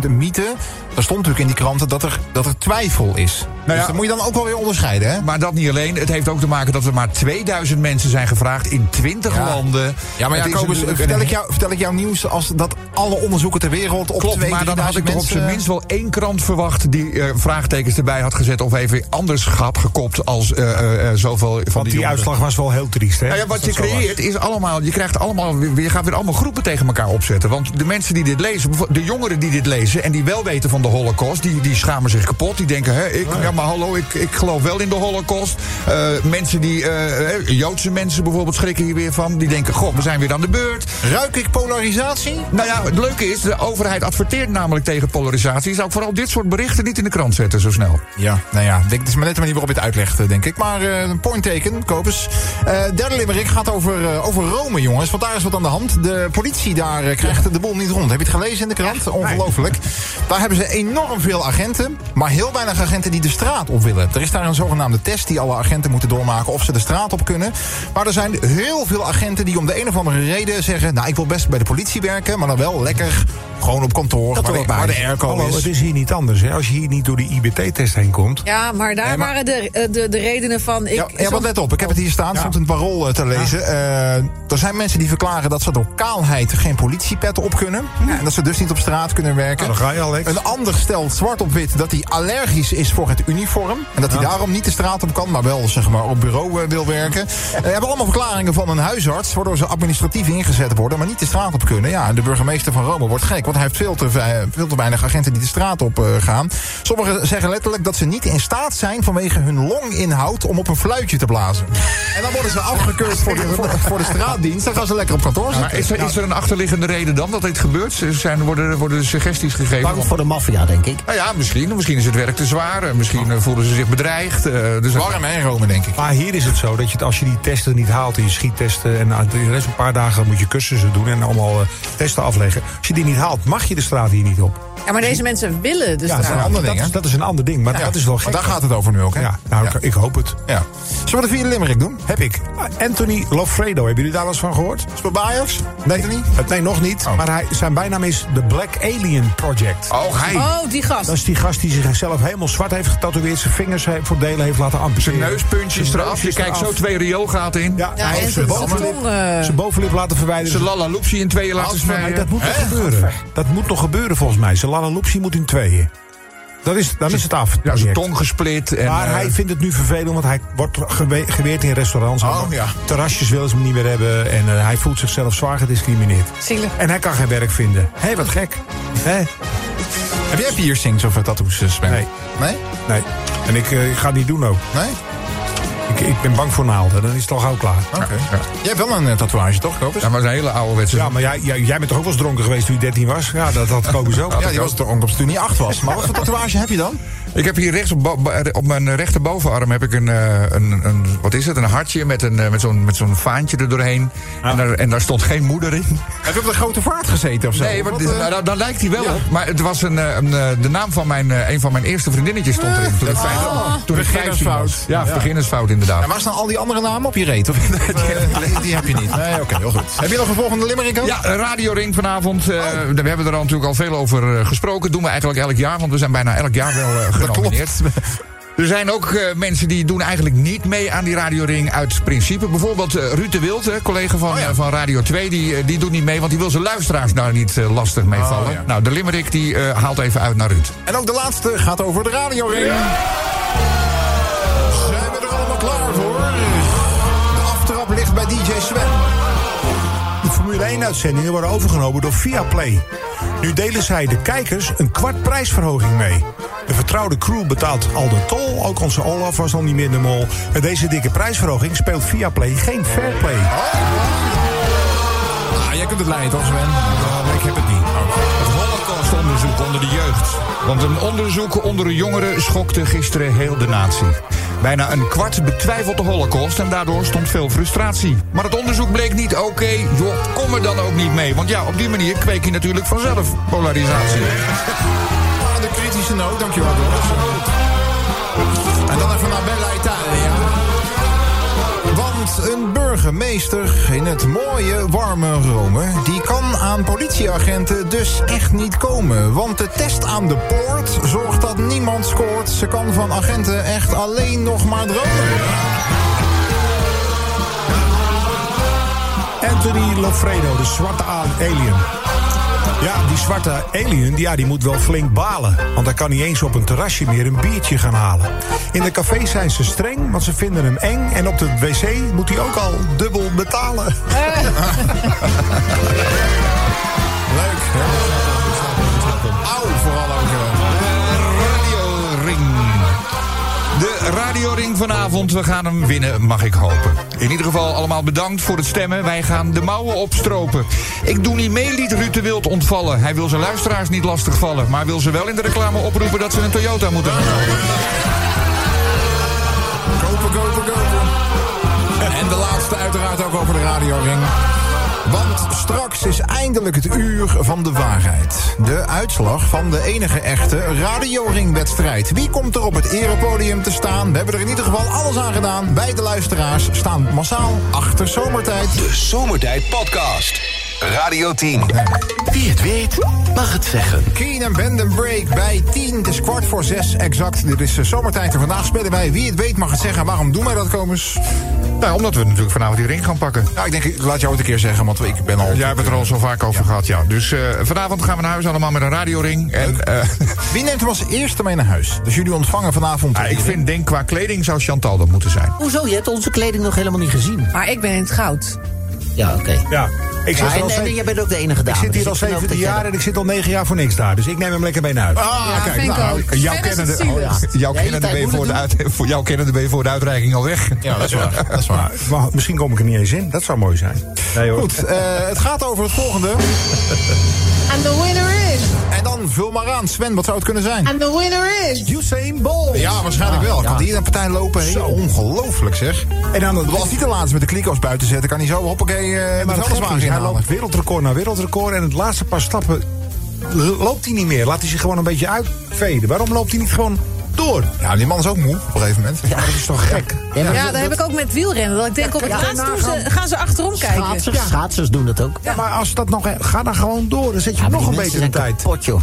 [SPEAKER 5] een mythe. Daar stond natuurlijk in die kranten dat er, dat er twijfel is.
[SPEAKER 7] ja.
[SPEAKER 5] Dus dat moet je dan ook wel weer onderscheiden, hè?
[SPEAKER 7] Maar dat niet alleen. Het heeft ook te maken dat er maar 2000 mensen zijn gevraagd in 20
[SPEAKER 5] Ja.
[SPEAKER 7] landen.
[SPEAKER 5] Ja, maar
[SPEAKER 7] Het
[SPEAKER 5] ja,
[SPEAKER 7] is
[SPEAKER 5] Kobus,
[SPEAKER 7] natuurlijk
[SPEAKER 5] vertel
[SPEAKER 7] een-
[SPEAKER 5] ik, jou, vertel ik jou nieuws als dat alle onderzoeken ter wereld op
[SPEAKER 7] Klopt,
[SPEAKER 5] twee,
[SPEAKER 7] maar dan had
[SPEAKER 5] 3000
[SPEAKER 7] ik toch op
[SPEAKER 5] mensen-
[SPEAKER 7] zijn minst wel één krant verwacht... die eh, vraagtekens erbij had gezet of even anders had gekopt... als eh, eh, eh, zoveel van
[SPEAKER 2] Want
[SPEAKER 7] die
[SPEAKER 2] die,
[SPEAKER 7] jongeren.
[SPEAKER 2] uitslag was wel heel triest, hè?
[SPEAKER 7] Nou ja, wat
[SPEAKER 2] Dat
[SPEAKER 7] je
[SPEAKER 2] dat zo was.
[SPEAKER 7] creëert is allemaal. Je krijgt allemaal. weer- Je gaat weer allemaal groepen tegen elkaar opzetten. Want de mensen die dit lezen, bijvo- de jongeren die dit lezen. en die wel weten van de Holocaust. die, die schamen zich kapot. Die denken: hè, ik, ja, maar hallo, ik, ik geloof wel in de Holocaust. Eh, mensen die. eh, hè, Joodse mensen bijvoorbeeld schrikken hier weer van. Die denken: goh, we zijn weer aan de beurt.
[SPEAKER 5] Ruik ik polarisatie?
[SPEAKER 7] Nou ja, het leuke is, de overheid adverteert namelijk tegen polarisatie. Zou ik vooral dit soort berichten niet in de krant zetten zo snel.
[SPEAKER 5] Ja, nou ja, ik denk, het is maar net de manier waarop je het uitlegt, eh, denk ik. Maar eh, een point taken, kopers. Eh derde limerick gaat over, eh, over Rome, jongens. Want daar is wat aan de hand. De politie daar eh, krijgt de boel niet rond. Heb je het gelezen in de krant? Ongelooflijk. Daar hebben ze enorm veel agenten, maar heel weinig agenten die de straat op willen. Er is daar een zogenaamde test die alle agenten moeten doormaken of ze de straat op kunnen. Maar er zijn heel veel agenten die om de een of andere reden zeggen... nou, ik wil best bij de politie werken, maar dan wel lekker gewoon op kantoor...
[SPEAKER 6] Dat
[SPEAKER 5] waar de,
[SPEAKER 6] hoort bij.
[SPEAKER 5] waar de airco
[SPEAKER 2] Hallo,
[SPEAKER 5] is.
[SPEAKER 2] het is hier niet anders, hè? Als je hier niet door die IBT-test heen komt...
[SPEAKER 4] Ja, maar daar waren de, eh, de, de redenen van... Ik,
[SPEAKER 5] Ja, ja, want let op, ik heb het hier staan, stond in het parool eh, te lezen. Eh, er zijn mensen die verklaren dat ze door kaalheid geen politiepet op kunnen. En dat ze dus niet op straat kunnen werken.
[SPEAKER 2] Hm. Nou, dan ga je, Alex.
[SPEAKER 5] Een ander stelt zwart op wit dat hij allergisch is voor het uniform. En dat hij daarom niet de straat op kan, maar wel zeg maar, op bureau eh, wil werken. Er hebben allemaal verklaringen van een huisarts, waardoor ze administratief ingezet worden, maar niet de straat op kunnen. Ja, en de burgemeester van Rome wordt gek, want hij heeft veel te, ve- veel te weinig agenten die de straat op eh, gaan. Sommigen zeggen letterlijk dat ze niet in staat zijn vanwege hun longinhoud om op een fluitje te blazen. En dan worden ze afgekeurd voor de, voor, voor de straatdienst. Dan gaan ze lekker op kantoor
[SPEAKER 7] Maar
[SPEAKER 5] zitten.
[SPEAKER 7] is er,
[SPEAKER 2] Nou,
[SPEAKER 7] is er een achterliggende reden dan dat dit gebeurt? Ze Zijn, worden, er- worden er suggesties gegeven?
[SPEAKER 6] Bang voor de maffia, denk ik.
[SPEAKER 7] Nou ja, misschien. Misschien is het werk te zwaar. eh, Misschien eh, voelen ze zich bedreigd. eh, dus
[SPEAKER 5] Warm hè, in Rome, denk ik.
[SPEAKER 2] Maar hier is het zo dat je, het- als je die testen niet haalt, die schiettesten... en nou, de rest een paar dagen moet je cursussen doen en allemaal eh, testen afleggen. Als je die niet haalt, mag je de straat hier niet op.
[SPEAKER 4] Ja, maar deze mensen willen dus
[SPEAKER 2] Ja,
[SPEAKER 4] daar-
[SPEAKER 2] dat, is een ander ding,
[SPEAKER 5] hè?
[SPEAKER 2] dat, is, dat is een ander ding, maar dat is wel
[SPEAKER 5] Want
[SPEAKER 2] gek.
[SPEAKER 5] daar gaat het over nu ook, hè?
[SPEAKER 2] Ja, nou,
[SPEAKER 5] Ja.
[SPEAKER 2] Ik, ik hoop het.
[SPEAKER 5] Ja. Zullen we de vierde limerick doen?
[SPEAKER 2] Heb ik. Ah, Anthony Lofredo, hebben jullie daar wel eens van gehoord?
[SPEAKER 5] Is het bij Ajax? Nee, niet?
[SPEAKER 2] Het- Nee, nog niet.
[SPEAKER 5] Oh.
[SPEAKER 2] Maar hij, zijn bijnaam is The Black Alien Project.
[SPEAKER 7] Oh, hij.
[SPEAKER 4] Oh, die gast.
[SPEAKER 2] Dat is die gast die zichzelf helemaal zwart heeft getatoeëerd. Zijn vingers he- voor delen heeft laten amputeren.
[SPEAKER 7] Zijn neuspuntjes
[SPEAKER 2] Zijn
[SPEAKER 7] eraf. Je
[SPEAKER 2] neusjes
[SPEAKER 7] kijkt
[SPEAKER 2] eraf.
[SPEAKER 7] zo twee rioolgaten in.
[SPEAKER 2] Ja,
[SPEAKER 4] Ja,
[SPEAKER 2] hij
[SPEAKER 4] en
[SPEAKER 2] heeft
[SPEAKER 4] zijn
[SPEAKER 2] zijn
[SPEAKER 4] tong,
[SPEAKER 2] bovenlip,
[SPEAKER 4] eh.
[SPEAKER 2] zijn bovenlip laten verwijderen.
[SPEAKER 7] Ze lala loepsie in tweeën laten
[SPEAKER 2] Volgens mij,
[SPEAKER 7] snijden.
[SPEAKER 2] dat moet nog gebeuren. Dat moet nog gebeuren volgens mij. Zijn Lalaloopsie moet in tweeën. Dan is, dan is het af. Ja,
[SPEAKER 7] zijn tong gesplit. En,
[SPEAKER 2] maar
[SPEAKER 7] eh,
[SPEAKER 2] hij vindt het nu vervelend, want hij wordt gewe- geweerd in restaurants.
[SPEAKER 7] Oh,
[SPEAKER 2] Maar
[SPEAKER 7] ja.
[SPEAKER 2] Terrasjes willen ze hem niet meer hebben. En eh, hij voelt zichzelf zwaar gediscrimineerd.
[SPEAKER 4] Zielig.
[SPEAKER 2] En hij kan geen werk vinden. Hé, wat gek. Hè?
[SPEAKER 5] Heb jij piercings of tattoos, Sven?
[SPEAKER 2] Nee.
[SPEAKER 5] Nee?
[SPEAKER 2] Nee. En ik, eh, ik ga het niet doen ook.
[SPEAKER 5] Nee?
[SPEAKER 2] Ik, ik ben bang voor naalden. Dan is het al gauw klaar.
[SPEAKER 5] Oké. Jij hebt wel een eh, tatoeage, toch, Kobus?
[SPEAKER 7] Ja, maar dat is een hele oude wedstrijd.
[SPEAKER 2] Ja, maar jij, jij, jij bent toch ook wel eens dronken geweest toen je 13 was? Ja, dat had Kobus ook.
[SPEAKER 5] Ja, die was toch onkomst toen hij acht was. Maar *laughs* wat voor tatoeage heb je dan?
[SPEAKER 7] Ik heb hier rechts op, bo- bo- op mijn rechterbovenarm heb ik een, eh, een, een, wat is het, een hartje met, een, eh, met zo'n met zo'n vaantje er doorheen. En, daar, en daar stond geen moeder in.
[SPEAKER 5] Heb je op de grote vaart gezeten of zo?
[SPEAKER 7] Nee, maar
[SPEAKER 5] Wat,
[SPEAKER 7] dit-
[SPEAKER 5] eh,
[SPEAKER 7] nou, nou, daar lijkt hij wel
[SPEAKER 5] ja.
[SPEAKER 7] op. Maar het was een, eh, een, eh, de naam van mijn, eh, een van mijn eerste vriendinnetjes stond erin. Toen ik
[SPEAKER 5] Ah.
[SPEAKER 7] vijf- toen ik vijftien
[SPEAKER 5] Beginnersfout.
[SPEAKER 7] was. Ja,
[SPEAKER 5] Ja.
[SPEAKER 7] beginnersfout inderdaad.
[SPEAKER 5] En waar staan al die andere namen op je reet? Of, die, *laughs* die heb je niet. Nee, oké, heel goed. Heb je nog een volgende limmering ook? Oh.
[SPEAKER 7] Ja, Radio Ring vanavond. eh, We hebben er al natuurlijk al veel over eh, gesproken. doen we eigenlijk elk jaar, want we zijn bijna elk jaar wel eh, genomineerd. Er zijn ook eh, mensen die doen eigenlijk niet mee aan die Radio Ring uit principe. Bijvoorbeeld eh, Ruud de Wild, eh, collega
[SPEAKER 5] Oh
[SPEAKER 7] van, eh, van Radio 2, die, eh, die doet niet mee... want die wil zijn luisteraars daar niet eh, lastig mee vallen.
[SPEAKER 5] Oh ja.
[SPEAKER 7] Nou, de Limerick die eh, haalt even uit naar Ruud.
[SPEAKER 5] En ook de laatste gaat over de radio ring. Zijn we er allemaal klaar voor? De aftrap ligt bij DJ Sven.
[SPEAKER 2] De Formule 1-uitzendingen worden overgenomen door Viaplay. Nu delen zij de kijkers een kwart prijsverhoging mee. De vertrouwde crew betaalt al de tol, ook onze Olaf was al niet meer de mol. Met deze dikke prijsverhoging speelt Viaplay geen fairplay.
[SPEAKER 5] Ah, jij kunt het leiden toch, Sven? Oh,
[SPEAKER 2] ik heb het niet.
[SPEAKER 7] Het Holocaustonderzoek onder de jeugd. Want een onderzoek onder jongeren schokte gisteren heel de natie. Bijna een kwart betwijfelt de Holocaust en daardoor stond veel frustratie. Maar het onderzoek bleek niet oké. Joh, kom er dan ook niet mee. Want ja, op die manier kweek je natuurlijk vanzelf polarisatie.
[SPEAKER 5] Ah, de kritische noot, dankjewel. En dan even naar Bella Italia. Want een burgemeester in het mooie, warme Rome... die kan aan politieagenten dus echt niet komen. Want de test aan de poort zorgt dat niemand scoort. Ze kan van agenten echt alleen nog maar dromen.
[SPEAKER 2] Anthony Lofredo, de zwarte a- alien. Ja, die zwarte alien ja, die moet wel flink balen. Want hij kan niet eens op een terrasje meer een biertje gaan halen. In de café zijn ze streng, want ze vinden hem eng. En op de wc moet hij ook al dubbel
[SPEAKER 5] *laughs*
[SPEAKER 2] betalen.
[SPEAKER 5] Leuk, hè? Auw, vooral ook. eh.
[SPEAKER 7] Radioring. De radioring vanavond, we gaan hem winnen, mag ik hopen. In ieder geval allemaal bedankt voor het stemmen. Wij gaan de mouwen opstropen. Ik doe niet mee, liet Ruud de Wild ontvallen. Hij wil zijn luisteraars niet lastigvallen... maar wil ze wel in de reclame oproepen dat ze een Toyota moeten gaan kopen.
[SPEAKER 5] Kopen, kopen, kopen. En de laatste uiteraard ook over de radioring. Want straks is eindelijk het uur van de waarheid. De uitslag van de enige echte radioringwedstrijd. Wie komt er op het erepodium te staan? We hebben er in ieder geval alles aan gedaan. Wij, de luisteraars, staan massaal achter zomertijd.
[SPEAKER 1] De Zomertijd Podcast. Radio 10.
[SPEAKER 8] Wie het weet, mag het zeggen.
[SPEAKER 5] Keen en Bend and Break bij 10. Het is kwart voor zes exact. Dit is eh, zomertijd en vandaag spelen wij. Wie het weet mag het zeggen. Waarom doen wij dat, Komers?
[SPEAKER 7] Nou, omdat we natuurlijk vanavond die ring gaan pakken.
[SPEAKER 5] Nou, ik denk, ik laat jou het een keer zeggen, want ik ben al...
[SPEAKER 7] Jij hebt het er al zo vaak over gehad, ja. Dus eh, vanavond gaan we naar huis allemaal met een radioring. En eh, *laughs*
[SPEAKER 5] Wie neemt hem als eerste mee naar huis? Dus jullie ontvangen vanavond...
[SPEAKER 7] nou, ik vind, denk qua kleding zou Chantal dat moeten zijn.
[SPEAKER 6] Hoezo? Je hebt onze kleding nog helemaal niet gezien.
[SPEAKER 4] Maar ik ben in het goud.
[SPEAKER 6] Ja, oké.
[SPEAKER 2] Ja, ik zit,
[SPEAKER 6] Ja,
[SPEAKER 2] er
[SPEAKER 6] en,
[SPEAKER 2] al
[SPEAKER 6] en
[SPEAKER 2] zeven-
[SPEAKER 6] jij bent ook de enige
[SPEAKER 2] ik
[SPEAKER 6] dame.
[SPEAKER 2] zit hier
[SPEAKER 6] dus
[SPEAKER 2] al
[SPEAKER 6] ik vind ook
[SPEAKER 2] 17
[SPEAKER 6] dat jij
[SPEAKER 2] jaar en ik zit al 9 jaar voor niks daar. Dus ik neem hem lekker mee naar huis.
[SPEAKER 5] Ah,
[SPEAKER 4] Ja,
[SPEAKER 5] kijk,
[SPEAKER 4] vind ik
[SPEAKER 5] nou,
[SPEAKER 4] ook.
[SPEAKER 5] jouw
[SPEAKER 4] Sven is
[SPEAKER 5] kennende...
[SPEAKER 4] het zielig.
[SPEAKER 5] Oh, ja.
[SPEAKER 7] Jouw
[SPEAKER 6] De hele
[SPEAKER 7] kennende ben je
[SPEAKER 6] tijd
[SPEAKER 7] voor, de uit, voor jouw kennende ben je voor de uitreiking al weg.
[SPEAKER 5] Ja, dat is waar. Dat is waar.
[SPEAKER 2] Maar misschien kom ik er niet eens in. Dat zou mooi zijn. Nee, hoor.
[SPEAKER 5] Goed, eh, het gaat over het volgende.
[SPEAKER 10] And the winner is.
[SPEAKER 5] En dan vul maar aan. Sven, wat zou het kunnen zijn?
[SPEAKER 10] And the winner is.
[SPEAKER 2] Usain Bolt.
[SPEAKER 5] Ja, waarschijnlijk wel. Kan die een partij lopen? Hey, ongelooflijk zeg. En dan was hij te laatst met de kliko's buiten zetten. Kan hij zo, hoppakee, eh
[SPEAKER 2] Maar
[SPEAKER 5] met
[SPEAKER 2] het
[SPEAKER 5] alles
[SPEAKER 2] gekke is, hij
[SPEAKER 5] inhalen.
[SPEAKER 2] loopt wereldrecord na wereldrecord. En het laatste paar stappen lo- loopt hij niet meer. Laat hij zich gewoon een beetje uitveden. Waarom loopt hij niet gewoon door?
[SPEAKER 5] Ja, die man is ook moe op een gegeven moment.
[SPEAKER 2] Maar dat is toch gek?
[SPEAKER 6] Ja, maar
[SPEAKER 4] Ja, dat heb ik ook met wielrennen. Dat ik denk, op het laatst doen ze, gaan ze achterom kijken.
[SPEAKER 6] schaatsers, schaatsers doen dat ook.
[SPEAKER 2] Ja, maar als dat nog... Ga dan gewoon door. Dan zet je
[SPEAKER 6] Ja, maar
[SPEAKER 2] nog
[SPEAKER 6] die
[SPEAKER 2] een
[SPEAKER 6] mensen
[SPEAKER 2] beetje de
[SPEAKER 6] zijn
[SPEAKER 2] tijd.
[SPEAKER 6] kapot, joh.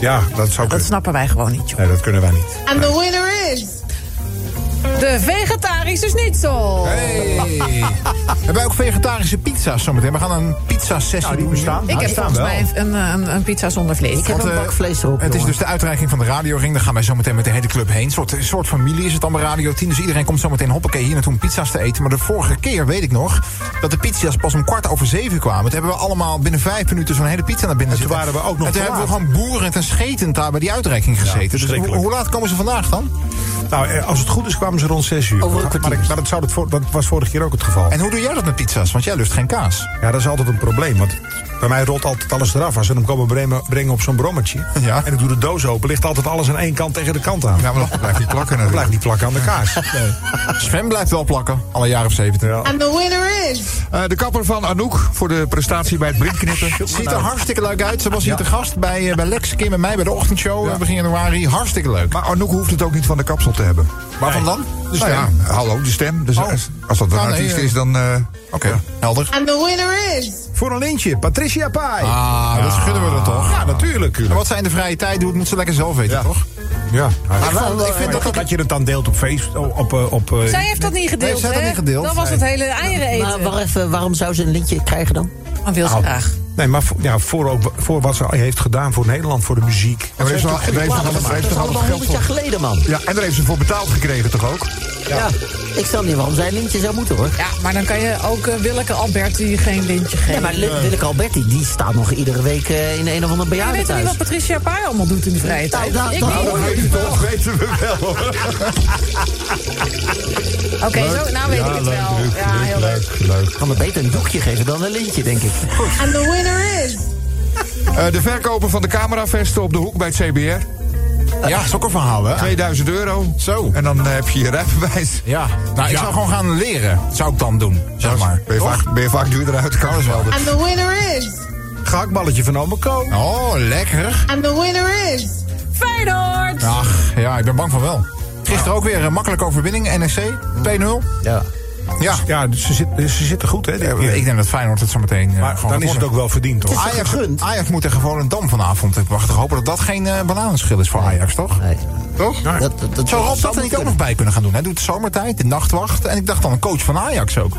[SPEAKER 2] Ja, dat zou
[SPEAKER 4] Dat
[SPEAKER 2] kunnen.
[SPEAKER 4] snappen wij gewoon niet, joh.
[SPEAKER 10] Ah.
[SPEAKER 2] Nee, dat kunnen wij niet.
[SPEAKER 10] And the winner is.
[SPEAKER 4] De vegetarische schnitzel.
[SPEAKER 5] Hey. Hebben wij ook vegetarische pizza's zometeen? We gaan een pizza-sessie doen. Nou, Staan.
[SPEAKER 4] Ik heb volgens mij een, een, een pizza zonder vlees.
[SPEAKER 5] Want, eh, Het is dus de uitreiking van de radioring. Daar gaan wij zo meteen met de hele club heen. Een soort, een soort familie is het dan bij Radio 10. Dus iedereen komt zo meteen hoppakee hier naartoe om pizza's te eten. Maar de vorige keer weet ik nog dat de pizza's pas om kwart over zeven kwamen. Toen hebben we allemaal binnen vijf minuten zo'n hele pizza naar binnen zitten.
[SPEAKER 2] waren we ook nog
[SPEAKER 5] En toen
[SPEAKER 2] te
[SPEAKER 5] hebben we
[SPEAKER 2] laat.
[SPEAKER 5] gewoon boerend en schetend daar bij die uitreiking gezeten. dus hoe,
[SPEAKER 2] verschrikkelijk.
[SPEAKER 5] hoe laat komen ze vandaag dan?
[SPEAKER 2] Nou, eh, als het goed is kwamen ze rond 6 uur.
[SPEAKER 5] Over een
[SPEAKER 2] maar ik- maar dat, zou dat, voor- dat was vorige keer ook het geval.
[SPEAKER 5] En hoe doe jij dat met pizza's? Want jij lust geen kaas.
[SPEAKER 2] Ja, dat is altijd een probleem. Want bij mij rolt altijd alles eraf. Als ze hem komen brengen, brengen op zo'n brommetje. En ik doe de doos open, ligt altijd alles aan één kant tegen de kant aan. Ja,
[SPEAKER 5] maar dat blijft niet plakken. Dat
[SPEAKER 2] blijft niet plakken aan de kaas.
[SPEAKER 5] Sven blijft wel plakken, al een jaar of 17.
[SPEAKER 10] And the winner is.
[SPEAKER 7] Eh, de kapper van Anouk voor de prestatie *laughs* bij het brienknippen.
[SPEAKER 5] Ziet er hartstikke leuk uit. Ze was hier te gast bij, eh, bij Lex, Kim en mij bij de ochtendshow eh, begin januari. Hartstikke leuk.
[SPEAKER 7] Maar Anouk hoeft het ook niet van de kapsel te hebben.
[SPEAKER 5] Waarvan dan?
[SPEAKER 7] Dus ja, hallo, de stem. Dus als, als dat een
[SPEAKER 5] Ah, nee,
[SPEAKER 7] artiest
[SPEAKER 5] eh.
[SPEAKER 7] is, dan... eh,
[SPEAKER 5] Oké, helder.
[SPEAKER 10] And the winner is.
[SPEAKER 2] Voor een lintje, Patricia Pai.
[SPEAKER 5] Ah, dat gunnen we er toch?
[SPEAKER 2] Ja, natuurlijk.
[SPEAKER 5] En wat zijn de vrije tijd doet, moet ze lekker zelf weten, toch?
[SPEAKER 2] Ja.
[SPEAKER 5] ik vond- ik vind dat dat-
[SPEAKER 2] dat je het dan deelt op feest. Op, op, eh, op, eh,
[SPEAKER 4] Zij heeft dat niet gedeeld,
[SPEAKER 5] Nee, zij heeft
[SPEAKER 4] hè?
[SPEAKER 5] dat niet gedeeld.
[SPEAKER 4] Dan was het hele eieren eten.
[SPEAKER 6] Maar waar even, waarom zou ze een lintje krijgen dan?
[SPEAKER 4] Maar wil ze
[SPEAKER 5] Oh.
[SPEAKER 2] Nou,
[SPEAKER 4] graag.
[SPEAKER 2] Nee, maar voor, ja, voor, ook, voor wat ze heeft gedaan voor Nederland, voor de muziek.
[SPEAKER 7] maar er is wel- er heeft nog allemaal- er heeft
[SPEAKER 6] Dat is
[SPEAKER 7] nog
[SPEAKER 6] allemaal
[SPEAKER 7] allemaal geld
[SPEAKER 6] 100 jaar
[SPEAKER 7] voor.
[SPEAKER 6] geleden, man.
[SPEAKER 7] Ja, en daar heeft ze voor betaald gekregen, toch ook?
[SPEAKER 6] Ja. Ik snap niet waarom zij een lintje zou moeten, hoor.
[SPEAKER 4] Ja, maar dan kan je ook eh, Willeke Alberti geen lintje geven.
[SPEAKER 6] Ja, maar Lil- Willeke Alberti, die staat nog iedere week eh, in een of ander
[SPEAKER 4] Je weet toch niet
[SPEAKER 6] bejaardentehuis.
[SPEAKER 4] wat Patricia Pai allemaal doet in de vrije tijd?
[SPEAKER 6] nou,
[SPEAKER 4] Ik
[SPEAKER 6] nou,
[SPEAKER 4] niet.
[SPEAKER 6] nou,
[SPEAKER 7] Dat weten we wel, hoor.
[SPEAKER 4] Oké, zo, nou weet ik het wel. ja, heel leuk.
[SPEAKER 6] Kan me beter een doekje geven dan een lintje, denk ik.
[SPEAKER 10] And the winner is.
[SPEAKER 7] Eh, de verkoper van de cameravesten op de hoek bij het CBR.
[SPEAKER 5] Ja, dat is ook een verhaal, hè?
[SPEAKER 7] 2000 euro.
[SPEAKER 5] Zo.
[SPEAKER 7] En dan eh, heb je je rijbewijs.
[SPEAKER 5] Ja. Nou, ik
[SPEAKER 7] Ja.
[SPEAKER 5] zou gewoon gaan leren. Zou ik dan doen, zeg maar.
[SPEAKER 7] Ben je,
[SPEAKER 5] Toch?
[SPEAKER 7] vaak, ben je vaak duurder uit de kous helder.
[SPEAKER 10] And the winner is.
[SPEAKER 2] Gehaktballetje van Ome Ko.
[SPEAKER 5] Oh, lekker.
[SPEAKER 10] And the winner is.
[SPEAKER 4] Feyenoord!
[SPEAKER 5] Ach, ja, ik ben bang van wel. Gisteren ook weer een makkelijke overwinning, NEC. 2-0.
[SPEAKER 6] Ja.
[SPEAKER 5] Ja.
[SPEAKER 2] Ja, dus ze, zit, dus ze zitten goed, hè? dit keer.
[SPEAKER 5] Ik denk dat Feyenoord het zo meteen eh,
[SPEAKER 2] maar
[SPEAKER 5] gewoon
[SPEAKER 2] dan is het
[SPEAKER 5] gewonnen.
[SPEAKER 2] ook wel verdiend, toch?
[SPEAKER 6] is toch
[SPEAKER 5] Ajax,
[SPEAKER 6] gegund?
[SPEAKER 5] Ajax moet tegen Volendam vanavond. Ik wacht toch hopen dat dat geen eh, bananenschil is voor Ajax, toch?
[SPEAKER 6] Nee.
[SPEAKER 5] Toch?
[SPEAKER 6] Dat- dat- dat-
[SPEAKER 5] Zou Rob
[SPEAKER 6] zou
[SPEAKER 5] dat er niet ook
[SPEAKER 6] moeten
[SPEAKER 5] nog bij kunnen gaan doen? Hij doet de zomertijd, de nachtwacht. En ik dacht dan een coach van Ajax ook.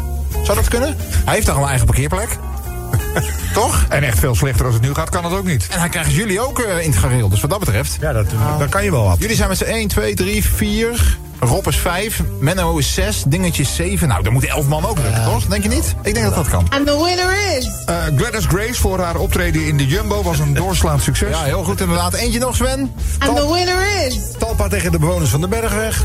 [SPEAKER 5] Zou dat kunnen? Hij heeft daar al een eigen parkeerplek. *laughs* toch?
[SPEAKER 7] En echt veel slechter als het nu gaat, kan dat ook niet.
[SPEAKER 5] En hij krijgt jullie ook eh, in het gareel. Dus wat dat betreft.
[SPEAKER 2] Ja, dat, eh,
[SPEAKER 5] Oh.
[SPEAKER 2] dat kan je wel wat.
[SPEAKER 5] Jullie zijn met z'n 1, 2, 3, 4. Rob is 5. Menno is 6. Dingetje is 7. Nou, dan moeten 11 man ook lukken, toch? Denk je niet? Ik denk dat dat kan.
[SPEAKER 10] And the winner is.
[SPEAKER 7] Eh, Gladys Grace voor haar optreden in de Jumbo was een doorslaand succes.
[SPEAKER 5] Ja, heel goed inderdaad. Eentje nog, Sven.
[SPEAKER 10] And the winner is.
[SPEAKER 2] Talpa tegen de bewoners van de *laughs* Bergweg.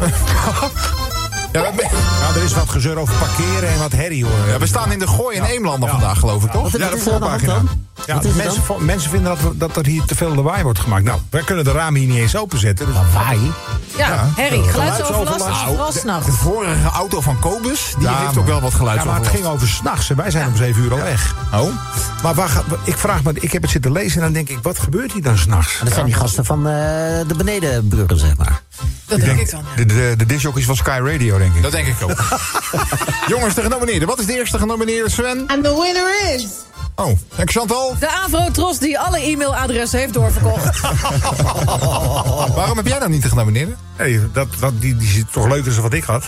[SPEAKER 5] Ja, we,
[SPEAKER 2] nou, er is wat gezeur over parkeren en wat herrie, hoor.
[SPEAKER 5] ja, we staan in de gooi in Eemlanden vandaag, geloof ik, toch?
[SPEAKER 6] Wat,
[SPEAKER 2] Ja,
[SPEAKER 6] wat
[SPEAKER 2] de
[SPEAKER 6] is er aan de hand
[SPEAKER 2] voorpagina.
[SPEAKER 6] dan?
[SPEAKER 2] Ja,
[SPEAKER 6] Wat is er
[SPEAKER 2] mensen,
[SPEAKER 6] dan?
[SPEAKER 2] vo- mensen vinden dat, we- dat er hier te veel lawaai wordt gemaakt. Nou, wij kunnen de ramen hier niet eens openzetten. Dus
[SPEAKER 6] Waai.
[SPEAKER 4] Ja, Harry,
[SPEAKER 5] eh,
[SPEAKER 4] geluidsoverlast,
[SPEAKER 2] geluidsoverlast.
[SPEAKER 4] vooral
[SPEAKER 5] De
[SPEAKER 4] s'nachts.
[SPEAKER 5] vorige auto van Kobus, die
[SPEAKER 2] Ja,
[SPEAKER 5] heeft
[SPEAKER 2] maar-
[SPEAKER 5] ook wel wat geluid.
[SPEAKER 2] Ja, maar het ging over s'nachts en wij zijn om zeven uur al weg.
[SPEAKER 5] Oh?
[SPEAKER 2] Maar waar ga- ik vraag me, ik heb het zitten lezen en dan denk ik, wat gebeurt hier dan s'nachts?
[SPEAKER 6] Dat zijn die gasten van eh, de benedenburen, zeg maar.
[SPEAKER 4] Dat denk ik dan. ja.
[SPEAKER 7] De, de, de discjockeys van Sky Radio, denk ik.
[SPEAKER 5] Dat denk ik ook. Jongens, de genomineerden. Wat is de eerste genomineerde, Sven?
[SPEAKER 10] And the winner is.
[SPEAKER 5] Oh, en Chantal?
[SPEAKER 4] De Avro-tros die alle e-mailadressen heeft doorverkocht.
[SPEAKER 6] Oh.
[SPEAKER 5] Waarom heb jij dan niet de genomineerde?
[SPEAKER 2] Hey, dat, dat, die, die zit toch leuker dan wat ik had.